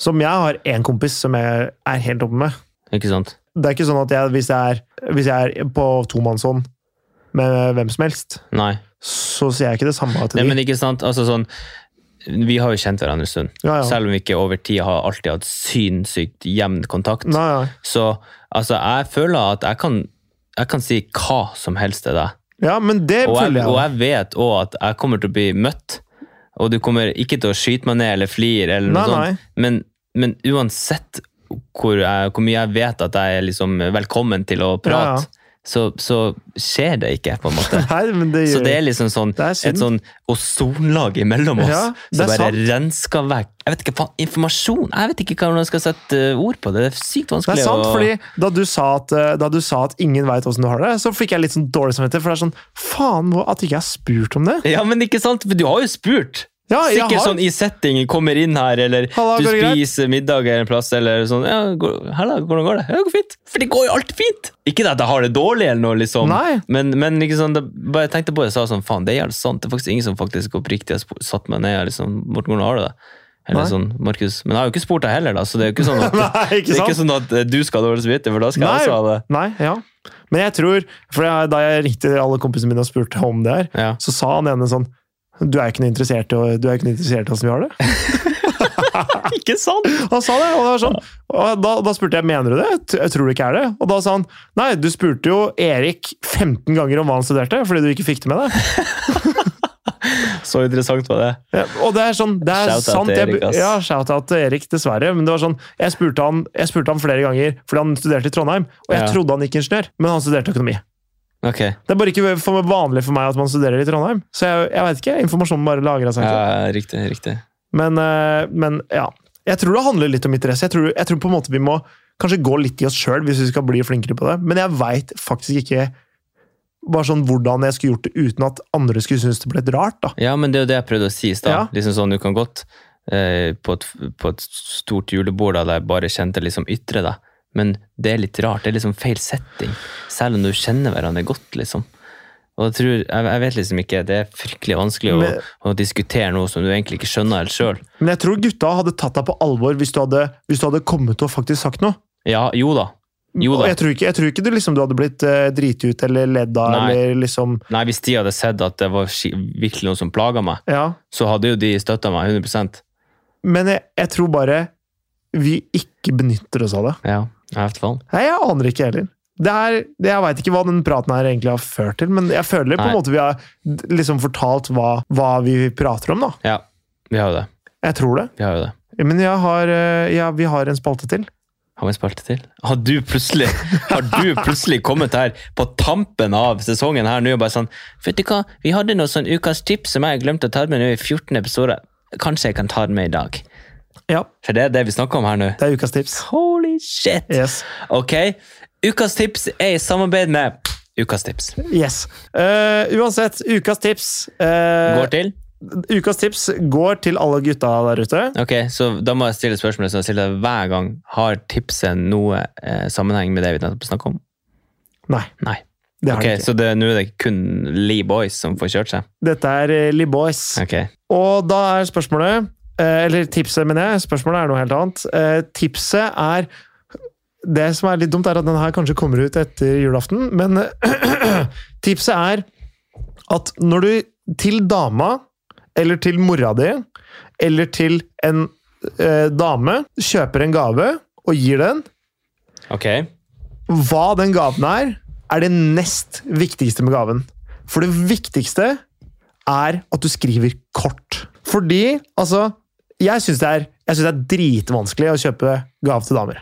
B: Som jeg har én kompis som jeg er helt oppe med.
A: ikke sant?
B: Det er ikke sånn at jeg, hvis jeg er, hvis jeg er på tomannshånd med hvem som helst,
A: Nei.
B: så sier jeg ikke det samme til
A: Nei, men
B: dem.
A: ikke sant? Altså sånn, vi har jo kjent hverandre en stund.
B: Ja, ja.
A: Selv om vi ikke over tid har alltid hatt sinnssykt jevn kontakt.
B: Nei, ja.
A: Så altså, jeg føler at jeg kan, jeg kan si hva som helst til deg.
B: ja, men det
A: Og jeg,
B: føler
A: og
B: jeg.
A: jeg vet òg at jeg kommer til å bli møtt, og du kommer ikke til å skyte meg ned eller flire eller noe
B: Nei, nei.
A: sånt. Men, men uansett hvor, jeg, hvor mye jeg vet at jeg er liksom velkommen til å
B: Ja, ja.
A: prate, Så, så skjer det ikke, på en måte.
B: Nei, men det
A: Så
B: gjør
A: det er liksom sånn,
B: Det er synd.
A: et sånn ozonlag imellom oss
B: Ja, det
A: som
B: er
A: bare
B: sant.
A: rensker vekk Jeg vet ikke faen, informasjon! Jeg vet ikke hvordan jeg skal sette eh, ord på det. Det er sykt
B: Det
A: vanskelig.
B: er sant,
A: å-
B: fordi da du sa at, eh, da du sa at ingen veit åssen du har det, så fikk jeg litt sånn dårlig samvittighet. For det er sånn Faen, hvor- at ikke jeg har spurt om det!
A: Ja, men ikke sant? For du har jo spurt!
B: Ja, jeg
A: Sikkert
B: har.
A: sånn i settingen, kommer inn her, eller
B: Halla,
A: du
B: går det greit?
A: spiser middag eller en plass, eller sånn ja, går, 'Halla, hvordan går det?' 'Ja, det går fint.' For det går jo alltid fint! Ikke at jeg har det dårlig, eller noe, liksom.
B: Nei.
A: Men, men ikke sånn, det, bare jeg tenkte på det, sa sånn, faen, det er jævlig sant. Det er faktisk ingen som faktisk oppriktig har sp- satt meg ned og liksom, Morten, hvordan har du det? Eller
B: Nei.
A: sånn, Markus. Men jeg har jo ikke spurt deg heller, da, så det er jo ikke sånn at,
B: Nei, ikke
A: det er
B: sant?
A: ikke sånn at eh, du skal ha dårlig samvittighet, for da skal
B: Nei.
A: jeg også ha det.
B: Nei, ja. Men jeg tror For jeg, da jeg ringte alle kompisene mine og spurte om det her,
A: Ja.
B: så sa han ene sånn Du er ikke noe interessert i å- du er ikke noe interessert i åssen vi har det?
A: Ikke sant?
B: Han sa det, og det var sånn. Og da, da spurte jeg mener du det? T- Jeg tror du ikke er det. Og da sa han nei, du spurte jo Erik 15 ganger om hva han studerte, fordi du ikke fikk det med deg.
A: Så interessant var det.
B: Ja, og det er sånn, det er
A: Shout-out til
B: sant. Jeg,
A: Erik, ass.
B: ja, shout-out til Erik, dessverre. Men det var sånn, jeg spurte, han, jeg spurte han flere ganger, fordi han studerte i Trondheim. Og jeg
A: Ja.
B: trodde han gikk ingeniør, men han studerte økonomi.
A: Ok.
B: Det er bare ikke for vanlig for meg at man studerer i Trondheim. Så jeg, jeg vet ikke, informasjonen bare lagrer seg.
A: Ja,
B: ikke.
A: riktig, riktig.
B: Men, eh, men ja, jeg tror det handler litt om interesse. Jeg tror, jeg tror på en måte vi må kanskje gå litt i oss sjøl hvis vi skal bli flinkere på det. Men jeg veit faktisk ikke bare sånn hvordan jeg skulle gjort det uten at andre skulle synes det ble litt rart. da.
A: Ja, men det er jo det jeg prøvde å si i stad.
B: Ja.
A: Liksom sånn, du kan godt eh, på, et, på et stort julebord da, der jeg bare kjente liksom ytre deg, men det er litt rart. Det er liksom feil setting, selv om du kjenner hverandre godt, liksom. Og jeg, tror, jeg, jeg vet liksom ikke, det er fryktelig vanskelig å,
B: Men-
A: å diskutere noe som du egentlig ikke skjønner helt sjøl.
B: Men jeg tror gutta hadde tatt deg på alvor hvis du hadde, hvis du hadde kommet og faktisk sagt noe.
A: Ja, jo da. Jo
B: Og
A: da.
B: jeg tror ikke, jeg tror ikke du, liksom, du hadde blitt eh, driti ut eller ledd av
A: Nei.
B: eller liksom
A: Nei, hvis de hadde sett at det var ski- virkelig noe som plaga meg,
B: Ja.
A: så hadde jo de støtta meg 100
B: Men jeg, jeg tror bare vi ikke benytter oss av det.
A: Ja, i hvert fall.
B: Nei, jeg aner ikke heller. Det er, det- jeg veit ikke hva den praten her egentlig har ført til, men jeg føler på en
A: Nei.
B: måte vi har d- liksom fortalt hva, hva vi prater om, da.
A: Ja, vi har jo det.
B: Jeg tror det.
A: Vi har jo det.
B: Men jeg har, eh, ja, vi har en spalte til.
A: Har vi en spalte til? Har du plutselig, har du plutselig kommet her på tampen av sesongen her nå og bare sånn Vet du hva, vi hadde noe sånn ukas tips som jeg glemte å ta med nå i 14 episoder. Kanskje jeg kan ta det med i dag?
B: Ja,
A: For det er det vi snakker om her nå.
B: det er ukas tips.
A: Holy shit!
B: Yes.
A: Ok, ukas tips er i samarbeid med Ukas tips.
B: yes. Eh, uansett, ukas tips eh,
A: Går til?
B: Ukas tips går til alle gutta der ute.
A: Ok, så da må jeg stille spørsmålet som jeg stiller hver gang. Har tipset noe eh, sammenheng med det vi nettopp snakket om?
B: Nei,
A: Nei.
B: det har
A: Ok,
B: de ikke.
A: Så det- nå er det kun Lee Boys som får kjørt seg?
B: Dette er eh, Lee Boys.
A: Ok.
B: Og da er spørsmålet eh, Eller tipset, mener jeg. Spørsmålet er noe helt annet. Eh, Tipset er Det som er litt dumt, er at den her kanskje kommer ut etter julaften, men tipset er at når du Til dama, eller til mora di, eller til en eh, dame, kjøper en gave og gir den,
A: Ok,
B: hva den gaven er, er det nest viktigste med gaven. For det viktigste er at du skriver kort. Fordi, altså Jeg syns det, er- jeg synes det er dritvanskelig å kjøpe gave til damer.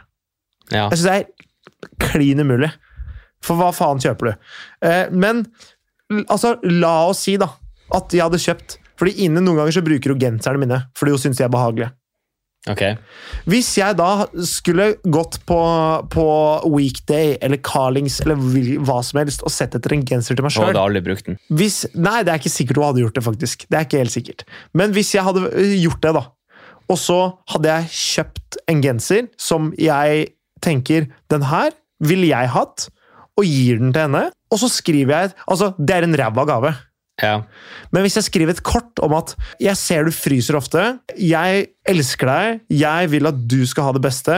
A: ja.
B: Jeg syns det er klin umulig. For hva faen kjøper du? Eh, men l- altså, la oss si da at jeg hadde kjøpt Fordi Ine noen ganger så bruker hun genserne mine fordi hun syns de er behagelige.
A: Ok.
B: Hvis jeg da skulle gått på, på weekday eller Carlings eller hvil- hva som helst og sett etter en genser til meg
A: Og
B: sjøl
A: hadde aldri brukt den.
B: Hvis, nei, det er ikke sikkert hun hadde gjort det, faktisk. Det er ikke helt sikkert. Men hvis jeg hadde ø, gjort det, da, og så hadde jeg kjøpt en genser som jeg tenker Den her ville jeg hatt, og gir den til henne, og så skriver jeg et- Altså, det er en ræva gave.
A: Ja.
B: Men hvis jeg skriver et kort om at jeg ser du fryser ofte, jeg elsker deg, jeg vil at du skal ha det beste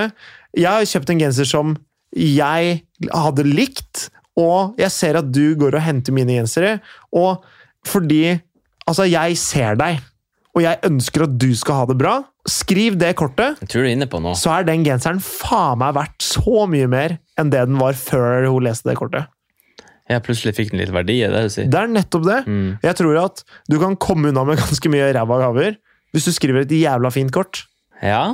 B: Jeg har kjøpt en genser som jeg hadde likt, og jeg ser at du går og henter mine gensere, og fordi Altså, jeg ser deg, og jeg ønsker at du skal ha det bra. Skriv det kortet,
A: Jeg tror du er inne på noe.
B: så er den genseren faen meg verdt så mye mer enn det den var før hun leste det kortet.
A: Jeg plutselig fikk den litt verdi i det du sier.
B: Det er nettopp det.
A: Mm.
B: Jeg tror at du kan komme unna med ganske mye ræva gaver hvis du skriver et jævla fint kort.
A: Ja.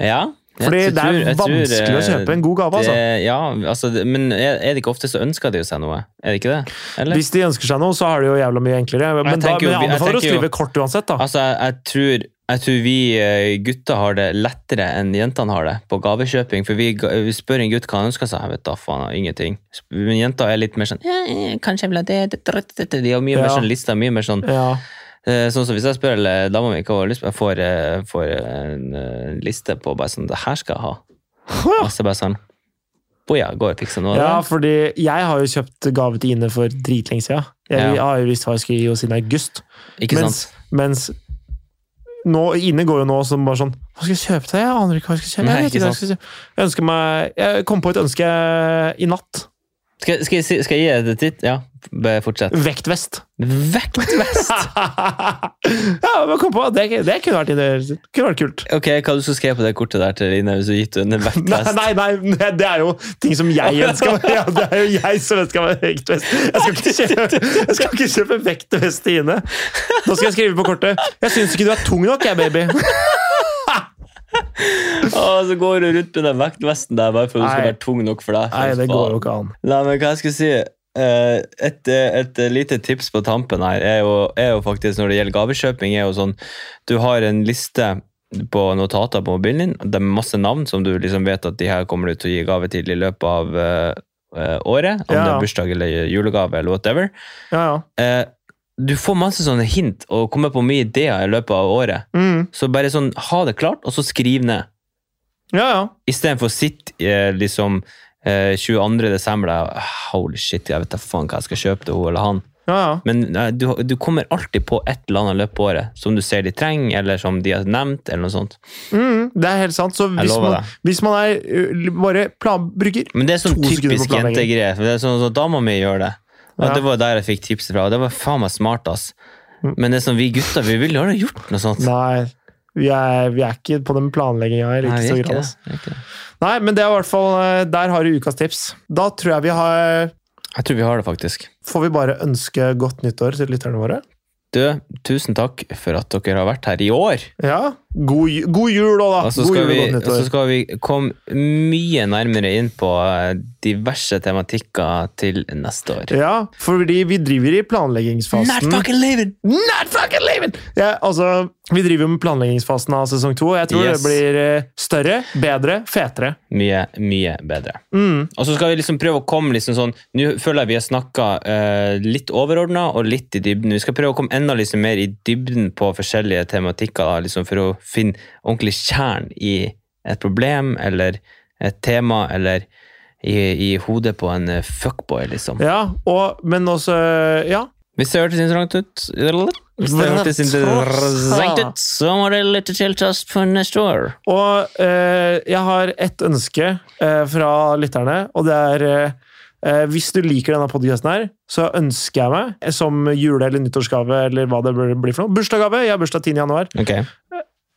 A: Ja. Jeg
B: Fordi det
A: tror-
B: er
A: jeg tror,
B: vanskelig å
A: eh,
B: kjøpe en god gave, altså.
A: Det, ja, altså, det- men er er det ikke ofte så ønsker de jo seg noe? Er det ikke det? Eller?
B: Hvis de ønsker seg noe, så er det jo jævla mye enklere. Men, da,
A: tenker
B: men
A: jo-
B: jeg
A: jeg
B: anbefaler å
A: tenker jo-
B: skrive kort uansett, da.
A: Altså, jeg, jeg, tror, jeg tror vi eh, gutter har det lettere enn jentene har det på gavekjøping. For vi, ga- vi spør en gutt hva han ønsker seg, jeg vet da faen, ingenting. Men jenter er litt mer sånn «Ja, eh, Kanskje jeg vil ha det, det, det, det, det. De har mye mer
B: Ja.
A: sånn lister. Mye mer sånn
B: Ja.
A: eh, Sånn som hvis jeg spør eh, dama mi hva hun har lyst på, jeg får, eh, får en eh, liste på bare sånn Det her skal jeg ha. Og så bare sånn Boja, går og fikser noe. av
B: ja,
A: det».
B: fordi jeg har jo kjøpt gave til Ine for dritlenge siden. Jeg,
A: Ja.
B: har jo visst hva jeg skulle gi henne siden august.
A: ikke
B: mens,
A: sant?
B: mens nå, Ine går jo nå som bare sånn Hva skal jeg kjøpe til? deg? Jeg aner ikke hva jeg skal kjøpe.
A: Nei,
B: Jeg, vet
A: ikke
B: ikke hva jeg, skal kjøpe. jeg, ønsker meg, jeg kom på et ønske i natt.
A: Skal, skal, jeg, si- skal jeg gi det titt? Ja, bare fortsett.
B: Vektvest.
A: Vektvest!
B: ja, men kom på, det, det kunne vært, det kunne vært kult.
A: Ok, Hva du skal skrive på det kortet der til Line hvis du gitt henne en
B: Nei,
A: vektvest?
B: nei, nei, det er jo ting som jeg ønsker meg. Ja, det er jo jeg som ønsker meg vektvest. Jeg skal ikke kjøpe, jeg skal ikke kjøpe vektvest til Ine. Nå skal jeg skrive på kortet. Jeg syns ikke du er tung nok, jeg, baby.
A: Å, så går du rundt med den vektvesten der bare for at du skal
B: Nei.
A: være tung nok for deg.
B: Nei, det går jo ikke an.
A: Nei, men hva jeg skal si eh, et, eh, et lite tips på tampen her er jo, er jo faktisk når det gjelder gavekjøping, er jo sånn Du har en liste på notater på mobilen din. Det er masse navn som du liksom vet at de her kommer du til å gi gave til i løpet av eh, eh, året. Om
B: Ja.
A: det er bursdag eller julegave eller whatever.
B: Ja, ja.
A: Eh, du får masse sånne hint og kommer på mye ideer i løpet av året.
B: Mm.
A: Så bare sånn, ha det klart, og så skriv ned.
B: ja, ja.
A: Istedenfor å sitte eh, liksom eh, 22. desember der, Holy shit, jeg vet da faen hva jeg skal kjøpe til hun eller han.
B: ja, ja.
A: Men eh, du, du kommer alltid på et eller annet løp på året som du ser de trenger, eller som de har nevnt, eller noe sånt.
B: Mm, det er helt sant. Så hvis
A: lover
B: man,
A: deg.
B: hvis man er ø, bare plan, bruker
A: Men det er sånn
B: To sekunder på
A: typisk
B: planlegging.
A: jentegreie. for Det er sånn at Dama mi gjør det. Og
B: Ja.
A: Det var der jeg fikk tipset fra, og det var faen meg smart, ass. Men det er sånn, vi gutter vi ville jo aldri gjort noe sånt.
B: Mm. Nei, vi er, vi er ikke på den planlegginga i
A: Nei,
B: like
A: vi er
B: stor
A: ikke
B: grad.
A: det,
B: ass.
A: vi er ikke det.
B: Nei, men det er i hvert fall eh, Der har du ukas tips. Da tror jeg vi har
A: Jeg tror vi har det, faktisk.
B: Får vi bare ønske godt nyttår til lytterne våre?
A: Du, tusen takk for at dere har vært her i år.
B: Ja. God, ju- god jul òg, da!
A: Og så
B: god
A: skal,
B: jul og
A: vi,
B: godt
A: og så
B: nyttår.
A: skal vi komme mye nærmere inn på eh, diverse tematikker til neste år.
B: Ja, fordi vi driver i planleggingsfasen.
A: living!
B: Not fucking leaving! Ja, altså, vi driver jo med planleggingsfasen av sesong to. og Jeg tror
A: Yes.
B: det blir eh, større, bedre, fetere.
A: Mye, mye bedre.
B: Mm.
A: Og så skal vi liksom prøve å komme liksom sånn Nå føler jeg vi har snakka litt overordna og litt i dybden. Vi skal prøve å komme enda liksom mer i dybden på forskjellige tematikker da, liksom for å finne ordentlig kjern i et problem eller et tema eller i, i hodet på en eh, fuckboy, liksom.
B: Ja, og, men også Ja.
A: Hvis det hørtes interessant ut Hvis det hørtes interessant ut, så må det lytte til oss for neste år.
B: Og eh, jeg har ett ønske eh, fra lytterne, og det er eh, eh, Hvis du liker denne podkasten her, så ønsker jeg meg eh, som jule- eller nyttårsgave eller hva det blir blir for noe, bursdagsgave. Jeg har bursdag 10. januar.
A: Ok,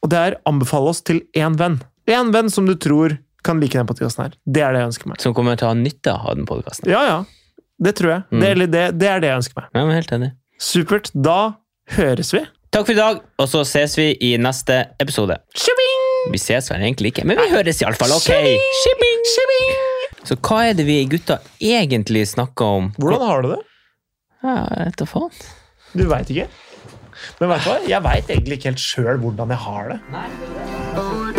B: Og det er anbefale oss til én venn. Én venn som du tror kan like denne podkasten her. Det er det jeg ønsker meg.
A: Så kommer jeg til å ha nytte av den podkasten.
B: Ja, ja. Det tror jeg.
A: Mm.
B: Det, eller det, det er det jeg ønsker meg.
A: Jeg er helt enig.
B: Supert. Da høres vi.
A: Takk for i dag, og så ses vi i neste episode.
B: Shipping!
A: Vi ses vel egentlig ikke, men vi høres iallfall, ok? Shipping! Så hva er det vi gutta egentlig snakker om?
B: Hvordan har du det?
A: Ja, jeg vet da faen.
B: Du veit ikke? Men vet du hva? Jeg veit egentlig ikke helt sjøl hvordan jeg har det.
D: All